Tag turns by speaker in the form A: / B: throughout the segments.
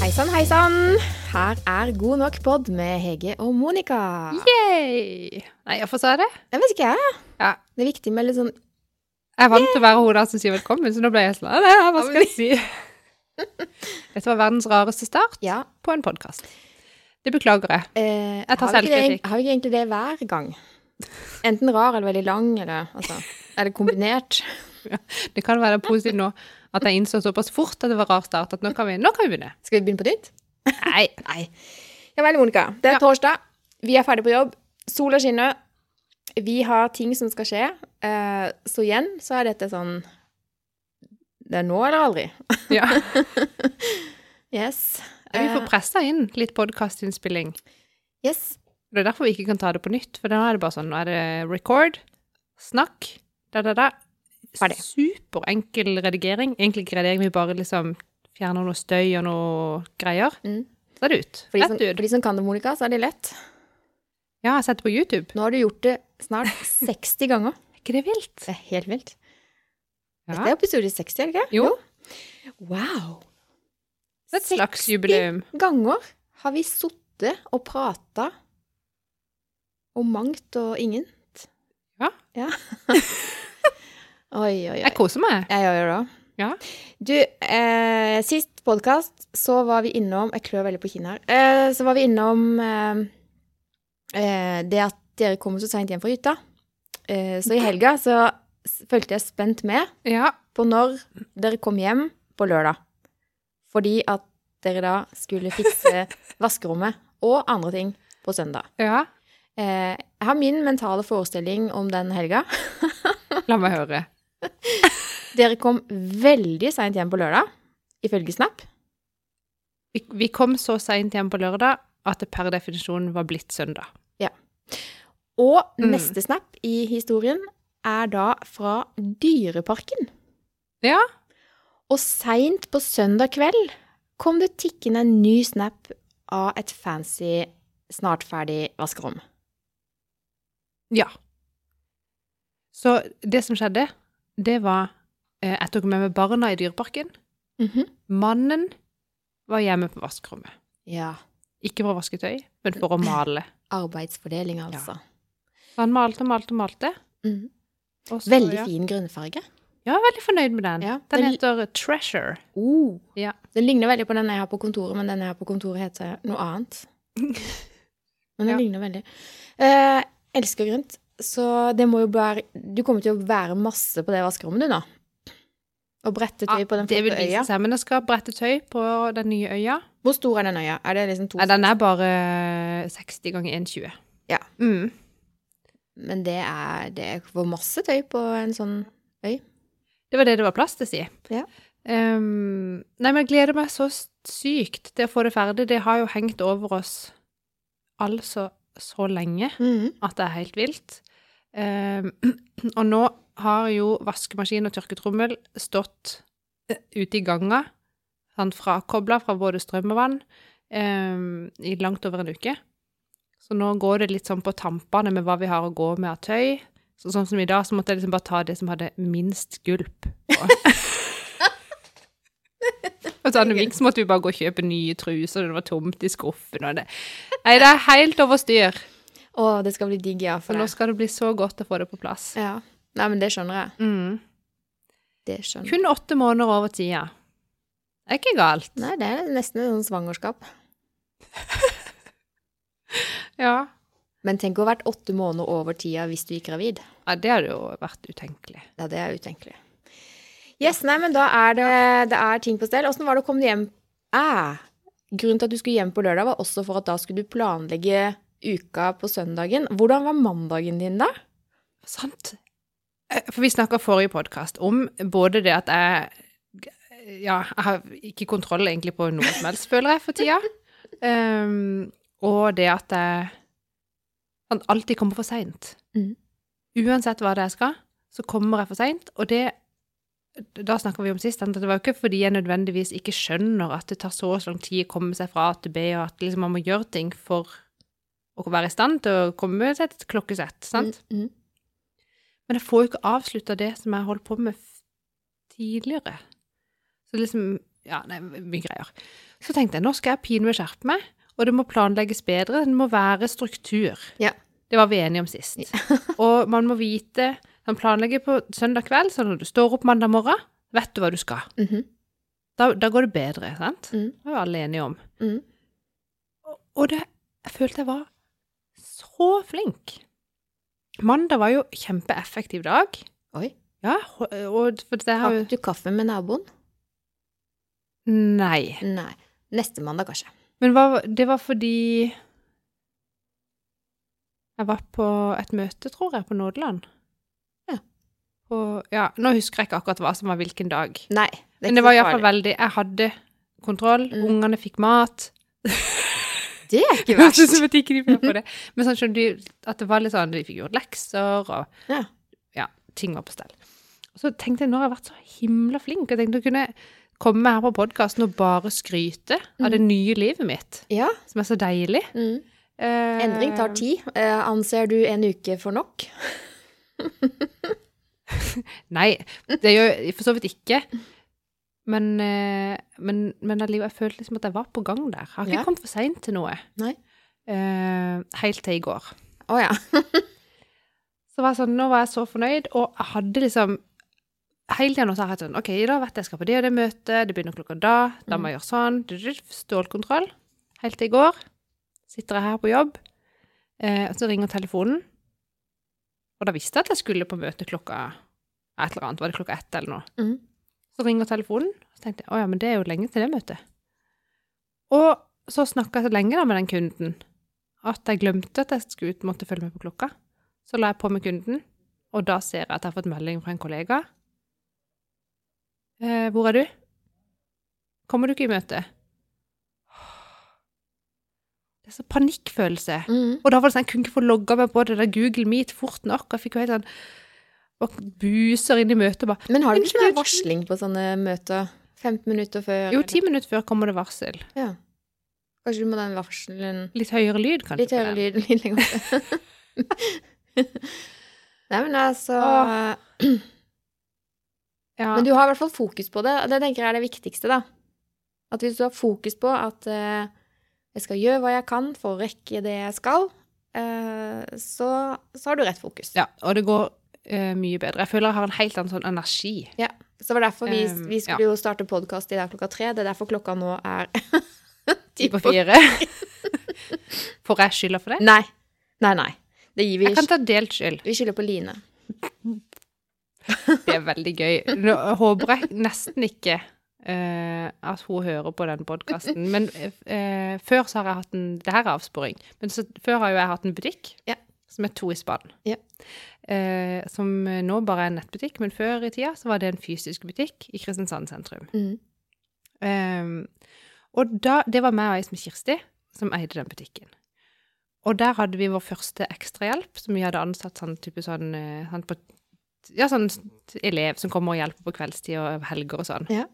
A: hei sann! Her er God nok pod med Hege og Monica.
B: Yay! Nei, hvorfor sa jeg det?
A: Jeg vet ikke, jeg.
B: Ja.
A: Det er viktig med litt sånn
B: Jeg er vant til å være hun der som sier velkommen, så nå ble jeg sånn «Nei, Hva skal jeg si? Dette var verdens rareste start
A: Ja.
B: på en podkast. Det beklager jeg.
A: Eh,
B: Jeg
A: har
B: tar
A: vi ikke det-
B: selvkritikk.
A: Har vi ikke egentlig det hver gang? Enten rar eller veldig lang, eller altså Er det kombinert?
B: Det kan være positivt nå at jeg innså såpass fort at det var rar start, at nå kan vi, nå kan vi begynne.
A: Skal vi begynne på nytt?
B: Nei.
A: Nei. Ja vel, Monica. Det er
B: Ja.
A: torsdag. Vi er ferdig på jobb. Sola skinner. Vi har ting som skal skje. Eh, så igjen så er dette sånn Det er nå eller aldri.
B: Ja.
A: Yes.
B: Vi får pressa inn litt podkastinnspilling.
A: yes.
B: Det er derfor vi ikke kan ta det på nytt, for da er det bare sånn Nå er det record, snakk, da, da, da.
A: Ferdig.
B: Superenkel redigering. Egentlig ikke redigering, vi bare liksom fjerner noe støy og noe greier.
A: Mm. sånn-
B: Så er det ut.
A: For de, som,
B: Rett ut.
A: for de som kan det, Monica, så er det lett.
B: Ja, jeg har sett det på YouTube.
A: Nå har du gjort det snart 60 ganger.
B: Er ikke det vilt?
A: Det er helt vilt.
B: Ja.
A: Dette er episode 60, er det ikke?
B: Jo.
A: Wow.
B: Det er et slags
A: 60
B: jubileum.
A: ganger har vi sittet og prata om mangt og ingen.
B: Ja.
A: Oi, oi, oi.
B: Jeg koser meg.
A: Jeg gjør det òg.
B: Ja.
A: Du, eh, sist podkast så var vi innom Jeg klør veldig på kinnet her. Eh, så var vi innom eh, eh, det at dere kommer så seint hjem fra hytta. Eh, så i helga så s- fulgte jeg spent med
B: Ja.
A: på når dere kom hjem på lørdag. Fordi at dere da skulle fikse vaskerommet og andre ting på søndag.
B: ja.
A: Eh, jeg har min mentale forestilling om den helga.
B: La meg høre.
A: Dere kom veldig seint hjem på lørdag, ifølge Snap.
B: Vi, vi kom så seint hjem på lørdag at det per definisjon var blitt søndag.
A: Og
B: Mm.
A: neste Snap i historien er da fra Dyreparken.
B: Ja.
A: Og seint på søndag kveld kom det tikkende en ny Snap av et fancy, snart ferdig vaskerom.
B: Ja. Så det som skjedde, det var eh, Jeg tok med meg barna i Dyreparken.
A: Mhm.
B: Mannen var hjemme på vaskerommet.
A: Ja.
B: Ikke for å vaske tøy, men for å male.
A: Arbeidsfordeling, altså.
B: Så han malte og malte og malte.
A: Mm.
B: og så-
A: Veldig
B: ja.
A: fin grønnfarge.
B: Ja, jeg er veldig fornøyd med den.
A: Ja,
B: Den
A: den-
B: heter Treasure.
A: Oh.
B: Ja.
A: Den ligner veldig på den jeg har på kontoret, men den jeg har på kontoret heter noe annet. Men den
B: Ja.
A: ligner veldig. Eh, elsker grønt. Så det må jo være Du kommer til å være masse på det vaskerommet, du, nå. Og brette tøy på den
B: det vil
A: flotte
B: vise
A: øya.
B: seg, men jeg skal brette tøy på den nye øya.
A: Hvor stor er den øya? Er det liksom to
B: Nei, den er bare 60 ganger 1,20.
A: Ja.
B: Mm.
A: Men det er, det er for masse tøy på en sånn
B: Det var det det var plass til, si.
A: Ja.
B: Ehm, nei, men jeg gleder meg så sykt til å få det ferdig. Det har jo hengt over oss altså så lenge
A: Mhm.
B: at det er helt vilt. Ehm, og nå har jo vaskemaskin og tørketrommel stått eh, ute i ganga, sånn frakobla fra både strøm og vann, ehm, i langt over en uke. Så nå går det litt sånn på tampene med hva vi har å gå med av tøy. Så, sånn som i dag, så måtte jeg liksom bare ta det som hadde minst gulp. på. og så hadde vi så måtte vi bare gå og kjøpe nye truser, og det var tomt i skuffen og det. Nei, det er helt over styr.
A: Å, det skal bli digg, ja.
B: Så
A: For
B: nå
A: det.
B: skal det bli så godt å få det på plass.
A: Ja. Nei, men det skjønner jeg.
B: Mm.
A: Det skjønner jeg.
B: Kun åtte måneder over tida. Det er ikke galt.
A: Nei, det er nesten et sånt svangerskap.
B: Ja.
A: Men tenk å ha vært åtte måneder over tida hvis du gikk gravid.
B: ja, det hadde jo vært utenkelig.
A: Ja, det er utenkelig. Yes, nei, men da er det, det er ting på stell. Åssen var det å komme hjem ah, Grunnen til at du skulle hjem på lørdag, var også for at da skulle du planlegge uka på søndagen. Hvordan var mandagen din, da?
B: Sant. Eh, For vi snakka forrige podkast om både det at jeg Ja, jeg har ikke kontroll egentlig på noe som helst, føler jeg, for tida. Ehm, og det at jeg sånn, alltid kommer for seint.
A: Mhm.
B: Uansett hva det er jeg skal, så kommer jeg for seint. Og det Da snakka vi om sist at det var jo ikke fordi jeg nødvendigvis ikke skjønner at det tar så og så lang tid å komme seg fra A til B, og at liksom man må gjøre ting for å være i stand til å komme til et klokkesett. sant?
A: Mm, mm.
B: Men jeg får jo ikke avslutta det som jeg holdt på med f- tidligere. Så liksom Ja, nei, mye greier. Så tenkte jeg, nå skal jeg pinlig skjerpe meg, og det må planlegges bedre. Det må være struktur.
A: Ja.
B: Det var vi enige om sist. og man må vite Man planlegger på søndag kveld, så når du står opp mandag morgen, vet du hva du skal.
A: Mhm.
B: Da, da går det bedre, sant?
A: Mm.
B: Det var jo alle enige om.
A: Mm.
B: Og- Og det, jeg følte jeg var så flink. Mandag var jo kjempeeffektiv dag.
A: Oi.
B: Ja, og- og for det har jo
A: Drakk du kaffe med naboen?
B: Nei.
A: Nei. Neste mandag, kanskje.
B: Men hva, det var fordi Jeg var på et møte, tror jeg, på Nådeland.
A: Ja.
B: Og, ja. Nå husker jeg ikke akkurat hva som var hvilken dag.
A: Nei.
B: Men det var iallfall veldig Jeg hadde kontroll.
A: Mm.
B: Ungene fikk mat.
A: Det er ikke
B: Hørtes ut
A: verst.
B: som at ikke de ble på det. Men sånn skjønner du, at det var litt sånn, de fikk gjort lekser, og
A: Ja.
B: ja, ting var på stell. Og så tenkte jeg, nå har jeg vært så himla flink, jeg tenkte å kunne komme her på podcasten og bare skryte
A: Mhm.
B: av det nye livet mitt,
A: Ja.
B: som er så deilig.
A: Mm.
B: Eh,
A: Endring tar tid. Eh, anser du en uke for nok?
B: Nei, det gjør jeg for så vidt ikke. Men, eh, men, men alligevel, jeg følte liksom at jeg var på gang der. Jeg har ikke
A: Ja.
B: kommet for sent til noe.
A: Nei.
B: Eh, helt til i går.
A: Å ja.
B: Så var jeg sånn, nå var jeg så fornøyd, og jeg hadde liksom Hele tiden nå så har jeg hatt sånn OK, i dag vet jeg jeg skal på det og det møtet, det begynner klokka da, da må jeg gjøre sånn du, du, du, Stålkontroll. Helt til i går sitter jeg her på jobb, eh, og så ringer telefonen. Og da visste jeg at jeg skulle på møte klokka et eller annet, var det klokka ett eller noe.
A: Mm.
B: Så ringer telefonen, og så tenkte jeg å ja, men det er jo lenge til det møtet. Og så snakka jeg så lenge da med den kunden at jeg glemte at jeg skulle ut, måtte følge med på klokka. Så la jeg på med kunden, og da ser jeg at jeg har fått melding fra en kollega. Eh, 'Hvor er du?' 'Kommer du ikke i møte?' Det er så panikkfølelse.
A: Mm.
B: Og da var det sånn, jeg kunne ikke få logga meg på det der Google Meet fort nok. og Jeg fikk jo helt sånn og buser inn i møtet og bare
A: Men har du ikke sånn
B: Unnskyld.
A: her varsling på sånne møter? 15 minutter før
B: Jo, ti minutter før kommer det varsel.
A: Ja. Kanskje du må den varselen
B: Litt høyere lyd, kanskje.
A: Litt
B: på
A: høyere
B: den.
A: lyd litt lenger oppe. Nei, men altså
B: Åh. Ja.
A: Men du har i hvert fall fokus på det. og Det tenker jeg er det viktigste, da. At hvis du har fokus på at eh, jeg skal gjøre hva jeg kan for å rekke det jeg skal, eh, så, så har du rett fokus.
B: ja, og det går eh, mye bedre. Jeg føler jeg har en helt annen sånn energi.
A: Så det var derfor vi,
B: Um,
A: vi skulle jo starte podkast i dag klokka tre. Det er derfor klokka nå er
B: Ti på fire. Får jeg skylda for det?
A: Nei. Nei, nei. Det gir vi
B: Jeg kan ta delt skyld.
A: Vi skylder på Line.
B: Det er veldig gøy. Nå håper jeg nesten ikke eh, at hun hører på den podkasten. Men eh, før så har jeg hatt en Det her er avsporing. Men så, før har jo jeg hatt en butikk
A: Ja.
B: som er to i spann.
A: Ja.
B: Eh, som nå bare er en nettbutikk, men før i tida så var det en fysisk butikk i Kristiansand sentrum.
A: Mm.
B: Ehm, og da, det var meg og ei som Kirsti, som eide den butikken. Og der hadde vi vår første ekstrahjelp, som vi hadde ansatt sånn type sånn, eh, sånn på, Ja, sånn t- elev som kommer og hjelper på kveldstid og helger og sånn.
A: Ja.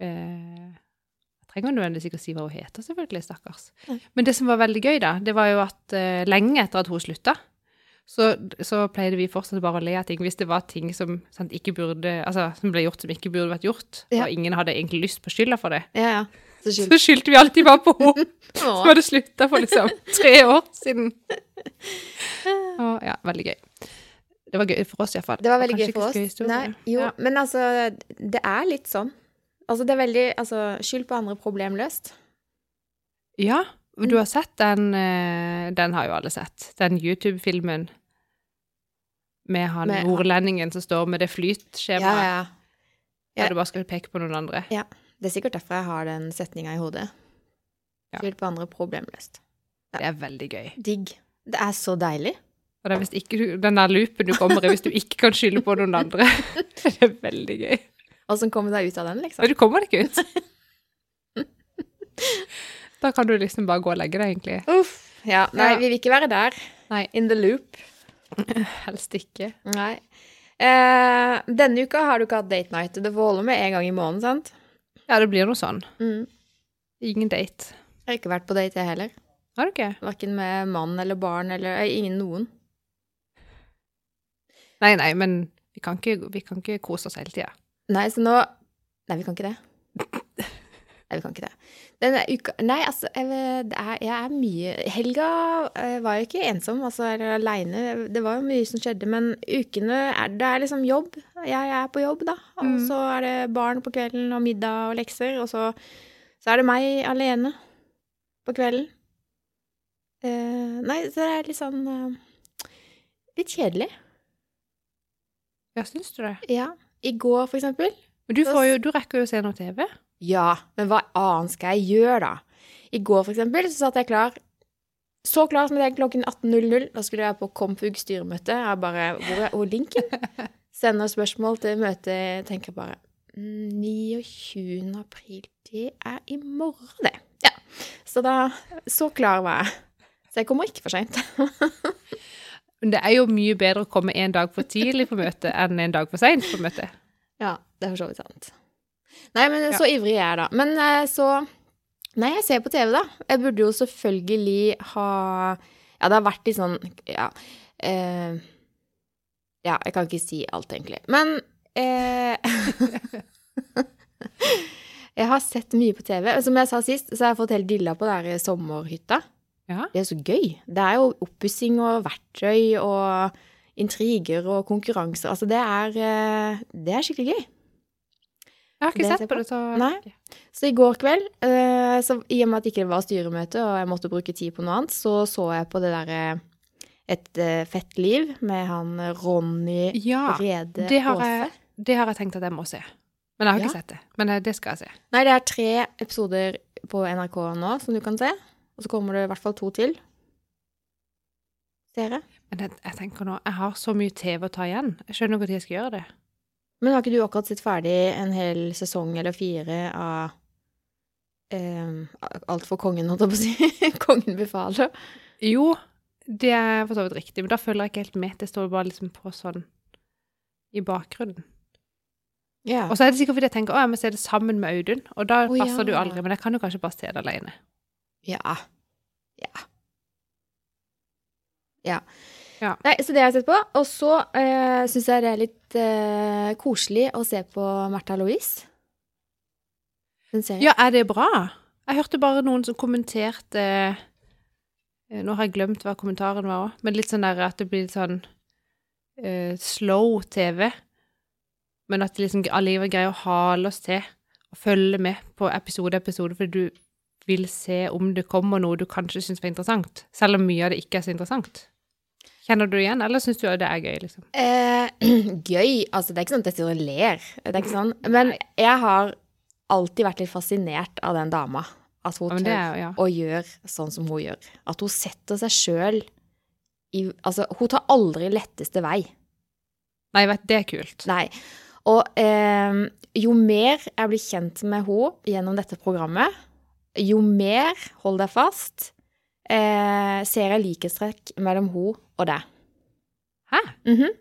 B: Eh, jeg trenger nødvendigvis ikke å si hva hun heter, selvfølgelig, stakkars.
A: Nei.
B: Men det som var veldig gøy, da, det var jo at eh, lenge etter at hun slutta, så, så pleide vi fortsatt bare å le av ting hvis det var ting som, sant, ikke burde, altså, som ble gjort som ikke burde vært gjort,
A: Ja.
B: og ingen hadde egentlig lyst på skylda for det.
A: Ja, ja. Så skyld.
B: Så skyldte vi alltid bare på henne som
A: Åh.
B: hadde slutta for liksom tre år siden. Og, ja, veldig gøy. Det var gøy for oss iallfall.
A: Det var veldig gøy for oss. Nei, jo, men altså, det er litt sånn. Altså, det er veldig Altså, skyld på andre problem løst.
B: Ja, og
A: Mm.
B: du har sett den eh, Den har jo alle sett. Den YouTube-filmen med han
A: Med-
B: nordlendingen som står med det
A: Ja,
B: flytskjemaet,
A: ja. ja.
B: der du bare skal peke på noen andre.
A: Det er sikkert derfor jeg har den setninga i hodet.
B: Ja.
A: Skyld på andre problem løst.
B: Det er veldig gøy.
A: Digg. Det er så deilig.
B: Og det er hvis ikke du, den der loopen du kommer i hvis du ikke kan skylde på noen andre. Det er veldig gøy.
A: Åssen komme deg ut av den, liksom?
B: Men du kommer deg ikke ut. Da kan du liksom bare gå og legge deg, egentlig.
A: Uff. Ja. Nei,
B: Ja.
A: vi vil ikke være der.
B: Nei.
A: In the loop.
B: Helst ikke.
A: Nei. Eh, denne uka har du ikke hatt date night. Det får holde med én gang i måneden, sant?
B: Ja, det blir noe sånn.
A: Mm.
B: Ingen date.
A: Jeg har ikke vært på date, jeg heller.
B: Har du ikke?
A: Verken med mann eller barn eller eh, ingen noen.
B: Nei, nei, men vi kan ikke, vi kan ikke kose oss hele tida.
A: Nei, så nå Nei, vi kan ikke det. Nei, vi kan ikke det. Denne uka Nei, altså, jeg, det er, jeg er mye Helga eh, var jo ikke ensom, altså, eller aleine. Det var jo mye som skjedde, men ukene er, Det er liksom jobb. Jeg er på jobb, da. Og
B: Mm.
A: så er det barn på kvelden, og middag og lekser. Og så, så er det meg alene på kvelden. Eh, nei, så det er litt sånn eh, Litt kjedelig.
B: Ja, syns du det?
A: Ja. I går, for eksempel.
B: Men du,
A: Da
B: får jo, du rekker jo å se noe TV.
A: Ja, men hva annet skal jeg gjøre, da? I går, for eksempel, så satt jeg klar. Så klar som jeg er klokken 18.00. Da skulle jeg på Komfug styremøte. Jeg bare Hvor er hvor er linken? Sender spørsmål til møtet. Tenker bare «Mm, 29. april, det er i morgen, det. Ja. Så da Så klar var jeg. Så jeg kommer ikke for seint.
B: Men det er jo mye bedre å komme en dag for tidlig på møte enn en dag for seint på møte.
A: Ja, det er for så vidt sant. Nei, men så ivrig jeg er, da. Men eh, så Nei, jeg ser på TV, da. Jeg burde jo selvfølgelig ha Ja, det har vært litt sånn Ja. eh, ja, jeg kan ikke si alt, egentlig. Men eh, Jeg har sett mye på TV. Som jeg sa sist, så har jeg fått helt dilla på den der sommerhytta.
B: Ja.
A: Det er så gøy. Det er jo oppussing og verktøy og intriger og konkurranser. Altså, det er, eh, det er skikkelig gøy.
B: Jeg har ikke
A: Det
B: sett
A: ser
B: på det, så
A: Nei. Så i går kveld, eh, så i og med at det ikke var styremøte og jeg måtte bruke tid på noe annet, så så jeg på det derre Et eh, fett liv med han eh, Ronny
B: Ja,
A: Rede
B: det har,
A: Aase.
B: jeg, det har jeg tenkt at jeg må se. Men jeg har ikke
A: Ja.
B: sett det. Men eh, det skal jeg se.
A: Nei, det er tre episoder på NRK nå som du kan se. Og så kommer det i hvert fall to til. Seere.
B: Men jeg, jeg tenker nå, jeg har så mye TV å ta igjen. Jeg skjønner ikke når jeg skal gjøre det.
A: Men har ikke du akkurat sett ferdig en hel sesong eller fire av eh, Alt for kongen, holdt jeg på å si. kongen befaler.
B: Jo, det er for så vidt riktig, men da følger jeg ikke helt med. Det står bare liksom på sånn i bakgrunnen.
A: Ja.
B: Og så er det sikkert fordi jeg tenker å, jeg må se det sammen med Audun, og da
A: Å,
B: passer du
A: ja.
B: aldri. Men jeg kan jo kanskje bare se det alene.
A: Ja. Ja. Ja.
B: Ja.
A: Nei, så det har jeg sett på. Og så eh, syns jeg det er litt eh, koselig å se på Märtha Louise. Den serien.
B: Ja, er det bra? Jeg hørte bare noen som kommenterte eh, Nå har jeg glemt hva kommentaren var òg, men litt sånn der at det blir litt sånn eh, slow TV. Men at det liksom alligevel greier å hale oss til og følge med på episode episode, fordi du vil se om det kommer noe du kanskje syns var interessant, selv om mye av det ikke er så interessant. Kjenner du det igjen, eller syns du det er gøy, liksom?
A: Eh, gøy. Altså, det er ikke sånn at jeg sitter og ler. Det er ikke sånn. Men jeg har alltid vært litt fascinert av den dama. At hun
B: Ja, men det
A: tør
B: er, ja.
A: og gjør sånn som hun gjør. At hun setter seg sjøl i Altså, hun tar aldri letteste vei.
B: Nei, vet, det er kult.
A: Nei. Og eh, jo mer jeg blir kjent med henne gjennom dette programmet, jo mer, hold deg fast, eh, ser jeg likhetstrekk mellom henne og deg.
B: Hæ?
A: Mhm.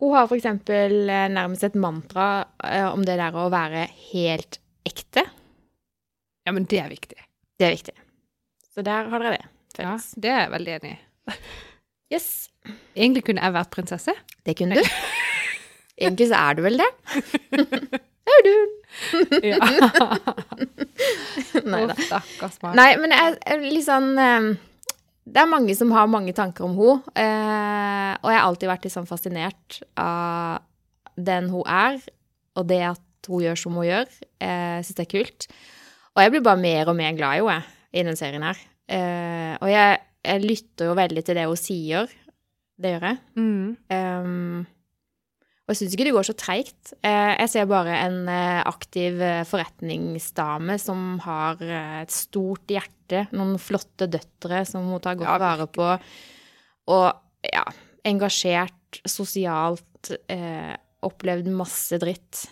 A: Hun har for eksempel eh, nærmest et mantra eh, om det der å være helt ekte.
B: Ja, men det er viktig.
A: Det er viktig. Så der har dere det.
B: Ja,
A: Felles.
B: det er jeg veldig enig i.
A: Yes.
B: Egentlig kunne jeg vært prinsesse.
A: Det kunne du. Egentlig så er du vel det. det er du.
B: Ja.
A: Nei da.
B: Å, Stakkars meg.
A: Nei, men jeg, jeg, litt sånn eh, Det er mange som har mange tanker om henne. Eh, og jeg har alltid vært litt sånn fascinert av den hun er, og det at hun gjør som hun gjør. Eh, Syns det er kult. Og jeg blir bare mer og mer glad i henne jeg, i den serien her. Eh, og jeg, jeg lytter jo veldig til det hun sier. Det gjør jeg.
B: Mm.
A: Ehm, og jeg syns ikke det går så treigt. Eh, jeg ser bare en eh, aktiv eh, forretningsdame som har eh, et stort hjerte, noen flotte døtre som hun tar godt
B: Ja,
A: vare på, og ja, engasjert sosialt, eh, opplevd masse dritt.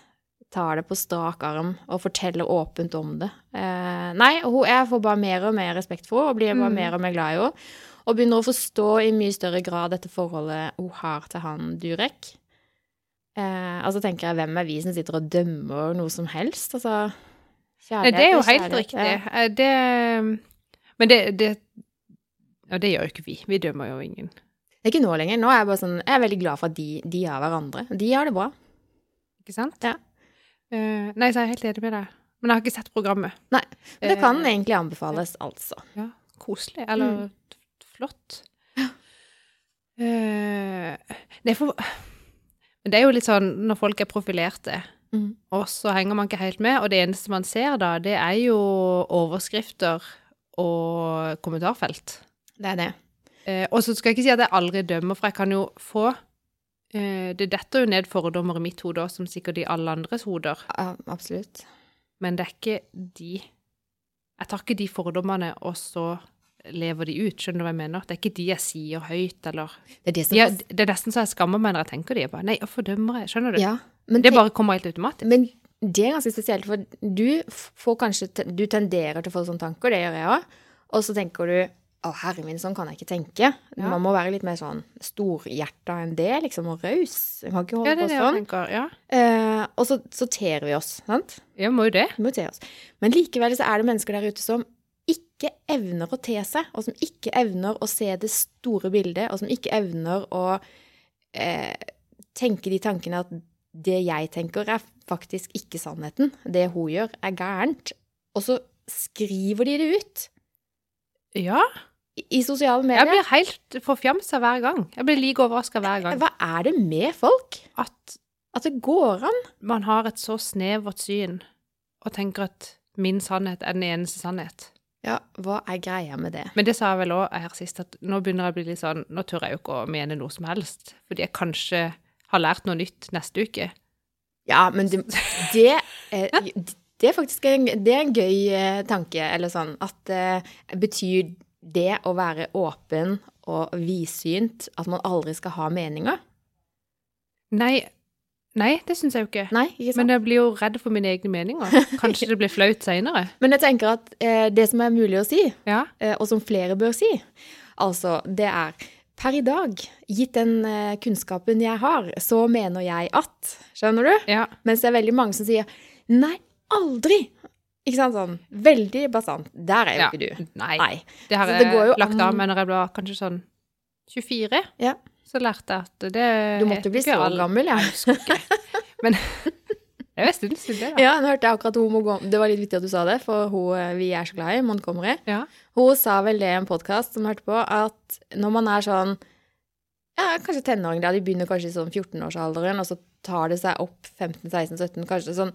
A: Tar det på strak arm og forteller åpent om det. Eh, nei, hun, jeg får bare mer og mer respekt for henne og blir bare
B: Mm.
A: mer og mer glad i henne. Og begynner å forstå i mye større grad dette forholdet hun har til han Durek. Eh, altså tenker jeg, hvem er vi som sitter og dømmer noe som helst? Altså,
B: Nei,
A: kjærlighet
B: det er jo
A: er
B: helt
A: kjærlighet,
B: riktig. Eh, Det, men det, det Og det gjør jo ikke vi. Vi dømmer jo ingen.
A: Det er ikke nå lenger. Nå er jeg bare sånn, jeg er veldig glad for at de, de har hverandre. De har det bra.
B: Ikke sant?
A: Ja.
B: Eh, nei, så er jeg helt enig med deg. Men jeg har ikke sett programmet.
A: Nei, Men det kan
B: Eh,
A: egentlig anbefales, altså.
B: Ja, koselig. Eller
A: Mm.
B: f- flott. Eh, det, er for, men det er jo litt sånn når folk er profilerte,
A: Mm.
B: og så henger man ikke helt med, og det eneste man ser da, det er jo overskrifter og kommentarfelt.
A: Det er det.
B: Eh, og så skal jeg ikke si at jeg aldri dømmer, for jeg kan jo få eh, Det detter jo ned fordommer i mitt hode, også, som sikkert i alle andres hoder,
A: Ja, absolutt.
B: men det er ikke de Jeg tar ikke de fordommene, og så lever de ut. Skjønner du hva jeg mener? Det er ikke de jeg sier høyt, eller
A: Det er det som
B: de er, Det er nesten så jeg skammer meg når jeg tenker de. Jeg bare, Nei, hvorfor dømmer jeg? Skjønner du?
A: Ja, men
B: Det
A: tenk-
B: bare kommer helt automatisk.
A: Men det er ganske spesielt, for du f- får kanskje te- Du tenderer til å få sånne tanker, det gjør jeg òg. Og så tenker du å, herre min, sånn kan jeg ikke tenke.
B: Ja.
A: Man må være litt mer sånn storhjerta enn det, liksom, og raus. Man kan ikke holde
B: Ja, det er
A: på
B: det jeg
A: sånn.
B: tenker. Ja.
A: Eh, og så sorterer vi oss, sant?
B: Jeg må jo det.
A: Vi må te oss. Men likevel så er det mennesker der ute som ikke evner å te seg, og som ikke evner å se det store bildet, og som ikke evner å eh, tenke de tankene at det jeg tenker, er faktisk ikke sannheten. Det hun gjør, er gærent. Og så skriver de det ut
B: Ja.
A: i, i sosiale
B: Jeg
A: medier.
B: blir helt forfjamsa hver gang. Jeg blir like overraska hver gang.
A: Hva er det med folk?
B: At
A: At det går an?
B: man har et så snevert syn og tenker at min sannhet er den eneste sannhet.
A: Ja, hva er greia med det?
B: Men det sa jeg vel òg her sist, at nå begynner jeg å bli litt sånn Nå tør jeg jo ikke å mene noe som helst, fordi jeg kanskje har lært noe nytt neste uke.
A: Ja, men det, det, eh, det er faktisk en, det er en gøy eh, tanke, eller sånn, at eh, betyr det å være åpen og vidsynt at man aldri skal ha meninger?
B: Nei, nei det syns jeg jo ikke.
A: Nei, ikke sant?
B: Men jeg blir jo redd for mine egne meninger. Kanskje det blir flaut seinere.
A: Men jeg tenker at eh, det som er mulig å si,
B: Ja.
A: eh, og som flere bør si, altså det er per i dag, gitt den eh, kunnskapen jeg har, så mener jeg at, skjønner du?
B: ja.
A: Mens det er veldig mange som sier nei, aldri! Ikke sant sånn? Veldig bastant. Der er jo
B: ja.
A: ikke du.
B: Nei.
A: Nei.
B: Det har
A: Så
B: jeg
A: det går jo
B: lagt av
A: an-
B: meg når jeg ble kanskje sånn 24.
A: Ja.
B: Så lærte jeg at det
A: Du måtte bli
B: ikke
A: så
B: all-
A: gammel, ja.
B: Nei, jeg husker ikke. Men det er jo en stund siden, det. da.
A: Ja, nå hørte jeg akkurat hun Montgom- Det var litt vittig at du sa det, for hun eh, vi er så glad i, Montgomery,
B: Ja.
A: hun sa vel det i en podkast som jeg hørte på, at når man er sånn ja, kanskje tenåring, da de begynner kanskje i sånn 14-årsalderen, og så tar det seg opp 15-16-17, kanskje sånn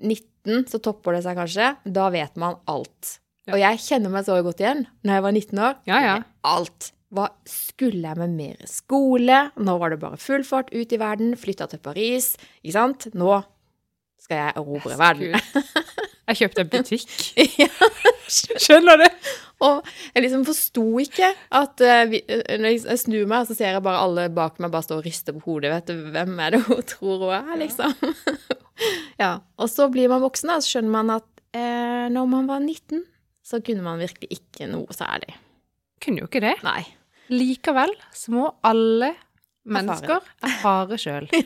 A: 19, så topper det seg kanskje. Da vet man alt.
B: Ja.
A: Og jeg kjenner meg så godt igjen. Når jeg var 19 år,
B: Ja, ja.
A: kjenner jeg alt. Hva skulle jeg med mer skole? Nå var det bare full fart ut i verden. Flytta til Paris. Ikke sant? Nå skal jeg erobre verden.
B: Kult. Jeg kjøpte en butikk.
A: Ja.
B: Skjønner du?
A: Og jeg liksom forsto ikke at eh, vi, eh, Når jeg snur meg, så ser jeg bare alle bak meg bare stå og riste på hodet. Vet du, hvem er det hun tror hun er, liksom? ja. Og så blir man voksen, da, så skjønner man at eh, når man var 19, så kunne man virkelig ikke noe særlig.
B: Kunne jo ikke det.
A: Nei.
B: Likevel så må alle mennesker erfare sjøl.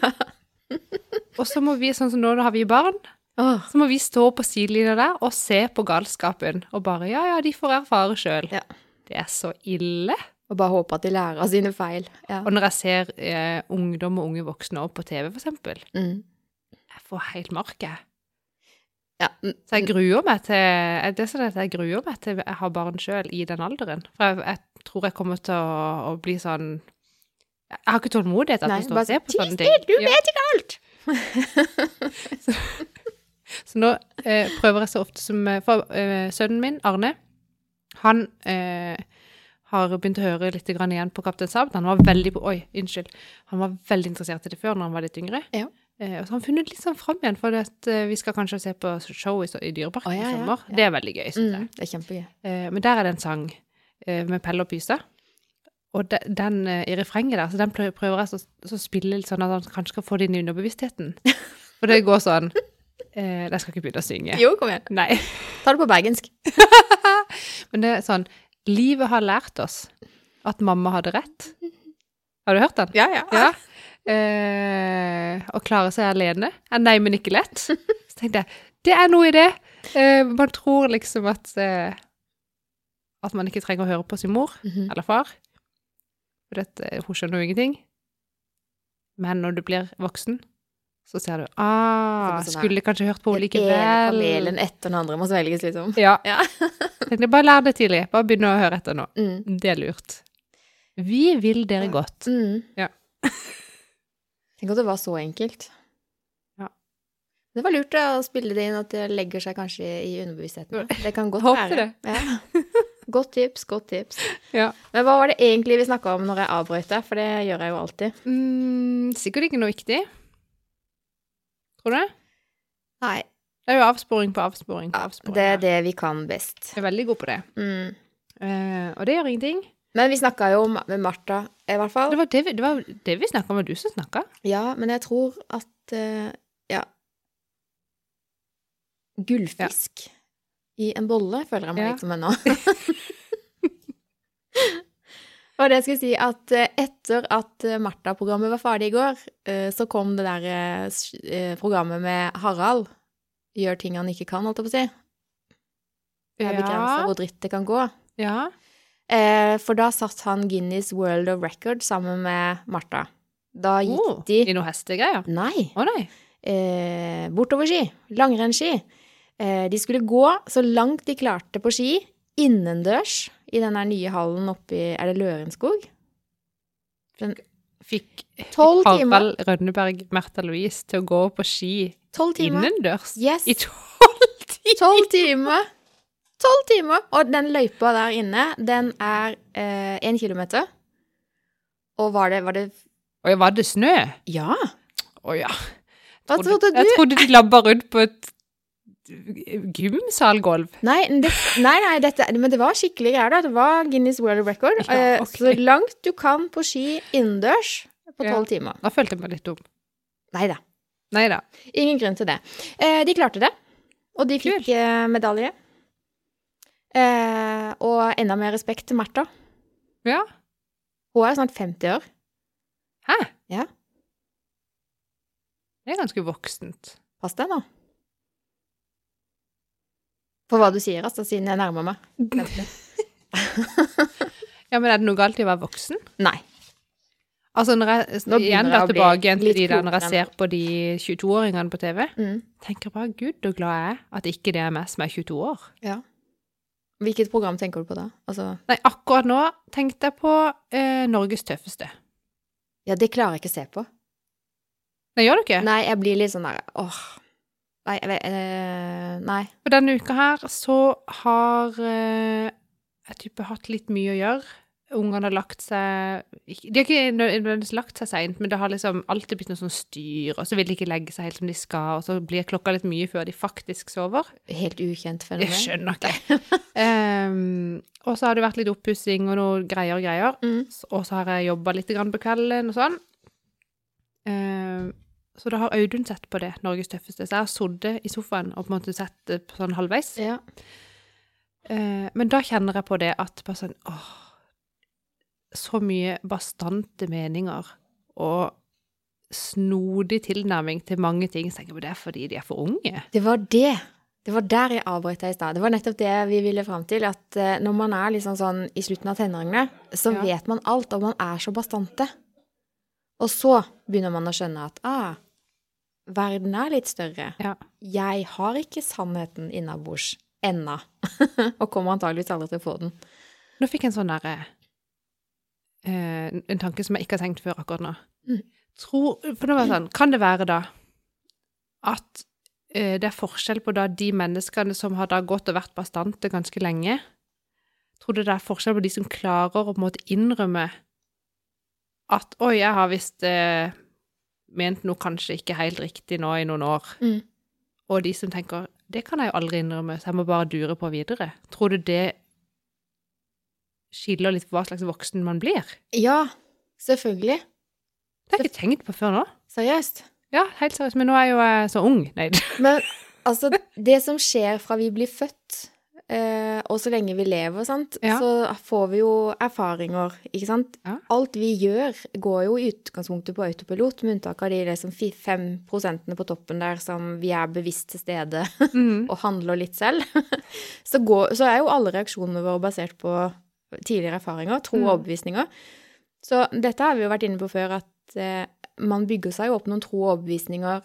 B: Og så må vi, sånn som nå, nå har vi barn,
A: Åh,
B: så må vi stå på sidelinja der og se på galskapen. Og bare ja, ja, de får erfare sjøl.
A: Ja.
B: Det er så ille.
A: og bare håpe at de lærer av sine feil. Ja.
B: Og når jeg ser eh, ungdom og unge voksne også på TV, for eksempel,
A: Mm.
B: jeg får helt mark, jeg.
A: ja. mm,
B: Så jeg gruer meg til eh, Det er sånn at jeg gruer meg til jeg har barn sjøl i den alderen. For jeg, jeg tror jeg kommer til å, å bli sånn Jeg har ikke tålmodighet til
A: Nei,
B: å stå
A: bare
B: og se på
A: sånn, «Ti
B: sånne ting.
A: stille, du
B: Ja.
A: vet ikke alt!
B: Så nå eh, prøver jeg så ofte som eh, For eh, sønnen min, Arne, han eh, har begynt å høre litt grann igjen på Kaptein Sabelt. Han var veldig på, Oi, unnskyld. Han var veldig interessert i det før, når han var litt yngre.
A: Ja.
B: Eh, og så har han funnet litt sånn fram igjen, for at, eh, vi skal kanskje se på show i, i Dyreparken
A: Å, ja,
B: i
A: ja,
B: sommer.
A: ja.
B: Det er veldig gøy, syns jeg.
A: Mm, det er kjempegøy.
B: Eh, men der er det en sang eh, med Pelle og Pyse. Og de, den eh, i refrenget der, så den prø- prøver jeg så- så å spille litt sånn at han kanskje skal få det inn i underbevisstheten. For det går sånn eh, Jeg skal ikke begynne å synge.
A: Jo, kom igjen.
B: Nei.
A: Ta det på bergensk.
B: Men det er sånn Livet har lært oss at mamma hadde rett. Har du hørt den?
A: Ja, ja.
B: Ja. Eh, å klare seg alene er nei, men ikke lett. Så tenkte jeg, det er noe i det. Eh, man tror liksom at eh, at man ikke trenger å høre på sin mor
A: Mhm.
B: eller far. eh, For dette, hun skjønner jo ingenting. Men når du blir voksen, Så ser du
A: Så blir det
B: Ah,
A: sånn her,
B: skulle kanskje hørt på henne
A: Den ene
B: likevel.
A: familien etter den andre må svelges, liksom.
B: Ja.
A: Ja.
B: Tenkte, bare lær det tidlig. Bare begynn å høre etter nå.
A: Mm.
B: Det er lurt. Vi vil dere godt.
A: Mm.
B: Ja.
A: Tenk at det var så enkelt.
B: Ja.
A: Det var lurt da, å spille det inn, at det legger seg kanskje i underbevisstheten. Det kan godt
B: Håper
A: være. Ja. Godt tips, godt tips.
B: Ja.
A: Men hva var det egentlig vi snakka om når jeg avbrøt deg, for det gjør jeg jo alltid.
B: Mm, sikkert ikke noe viktig. Tror du det?
A: Nei.
B: Det er jo avsporing på avsporing på avsporing.
A: Det er det vi kan best.
B: Jeg er veldig god på det.
A: Mm.
B: Eh, og det gjør ingenting.
A: Men vi snakka jo om- med Martha, i hvert fall.
B: Det var det vi, det var det vi snakka om, og du som snakka.
A: Ja, men jeg tror at eh, Ja. Gullfisk i en bolle føler jeg meg
B: Ja.
A: litt som en nå. Og det jeg skulle si, at eh, etter at eh, Martha-programmet var ferdig i går, eh, så kom det der eh, s- eh, programmet med Harald. Gjør ting han ikke kan, holdt jeg på å si. Jeg begrenser hvor dritt det kan gå.
B: ja.
A: Eh, For da satt han Guinness World of Record sammen med Martha. Da gikk
B: Oh,
A: de
B: I noen hestegreier?
A: Nei.
B: Å nei.
A: eh, bortoverski, langrennsski. Eh, de skulle gå så langt de klarte på ski, innendørs, i den her nye hallen oppe i Er det Lørenskog?
B: Fikk
A: Tolv timer.
B: Harald Rønneberg Märtha Louise til å gå på ski
A: Tolv timer.
B: innendørs
A: Yes.
B: i tolv timer?
A: Tolv timer! Tolv timer! Og den løypa der inne, den er én kilometer. Og var det, var det
B: Oi, var det snø?
A: Ja!
B: Å ja.
A: Hva trodde du?
B: Jeg trodde de labba rundt på et gymsalgulv.
A: Nei, men det, nei, nei dette, men det var skikkelig greier da. Det var Guinness World Record.
B: Ja,
A: Eh,
B: ok.
A: Så langt du kan på ski innendørs på
B: Ja.
A: tolv timer.
B: Da følte jeg meg litt dum.
A: Nei da.
B: Nei da.
A: Ingen grunn til det. Eh, de klarte det, og de fikk eh, medalje. Eh, og enda mer respekt til Märtha.
B: Ja.
A: Hun er snart 50 år.
B: Hæ?
A: Ja.
B: Det er ganske voksent.
A: Pass deg nå. For hva du sier, altså, siden jeg nærmer meg.
B: Ja, men er det noe galt i å være voksen?
A: Nei.
B: Altså, når jeg
A: Nå begynner
B: igjen da
A: jeg å bli
B: tilbake igjen til
A: litt
B: de der når jeg
A: klokere.
B: ser på de 22-åringene på TV,
A: Mm.
B: tenker bare gud og glad jeg er at ikke det er meg som er 22 år.
A: Hvilket program tenker du på da? Altså,
B: Nei, akkurat nå tenkte jeg på eh, Norges tøffeste.
A: ja, det klarer jeg ikke å se på.
B: Nei, gjør du ikke?
A: Nei, jeg blir litt sånn der åh. Nei, jeg vet eh, Nei.
B: For denne uka her så har eh, jeg type hatt litt mye å gjøre. Ungene har lagt seg ikke- De har ikke nødvendigvis lagt seg seint, men det har liksom alltid blitt noe sånn styr, og så vil de ikke legge seg helt som de skal, og så blir klokka litt mye før de faktisk sover.
A: Helt ukjent fenomen.
B: Jeg skjønner ikke. Em, og så har det vært litt oppussing og noe greier og greier.
A: Mm.
B: Og så har jeg jobba litt grann på kvelden og sånn. Eh, så da har Audun sett på det, Norges tøffeste. Så jeg har sittet i sofaen og på en måte sett det på sånn halvveis.
A: Ja.
B: Eh, men da kjenner jeg på det at bare sånn åh, Så mye bastante meninger og snodig tilnærming til mange ting. Så tenker jeg, men det er fordi de er for unge.
A: Det var det. Det var der jeg avbrøt deg i stad. Det var nettopp det vi ville fram til. At eh, når man er liksom sånn i slutten av tenårene, så
B: Ja.
A: vet man alt, og man er så bastante. Og så begynner man å skjønne at ah, verden er litt større.
B: Ja.
A: Jeg har ikke sannheten innabords ennå. og kommer antageligvis aldri til å få den.
B: Nå fikk jeg en sånn derre eh, En tanke som jeg ikke har tenkt før akkurat nå.
A: Mm.
B: Tror, for nå var det sånn Kan det være da at eh, det er forskjell på da de menneskene som har da gått og vært bastante ganske lenge Tror du det er forskjell på de som klarer å på en måte innrømme at Oi, jeg har visst eh, ment noe kanskje ikke helt riktig nå i noen år.
A: Mm.
B: Og de som tenker Det kan jeg jo aldri innrømme, så jeg må bare dure på videre. Tror du det skiller litt på hva slags voksen man blir.
A: Ja, selvfølgelig.
B: Det har jeg ikke tenkt på før nå.
A: Seriøst.
B: Ja, helt seriøst, men nå er jeg jo eh, så ung. Nei.
A: Men altså, det som skjer fra vi blir født, eh, og så lenge vi lever, sant,
B: Ja.
A: så får vi jo erfaringer, ikke sant?
B: Ja.
A: Alt vi gjør går jo i utgangspunktet på autopilot, med unntak av de liksom fi- fem prosentene på toppen der som vi er bevisst til stede
B: Mm.
A: og handler litt selv. Så, går, så er jo alle reaksjonene våre basert på tidligere erfaringer, tro og
B: Mm.
A: overbevisninger. Så dette har vi jo vært inne på før, at eh, man bygger seg jo opp noen tro og overbevisninger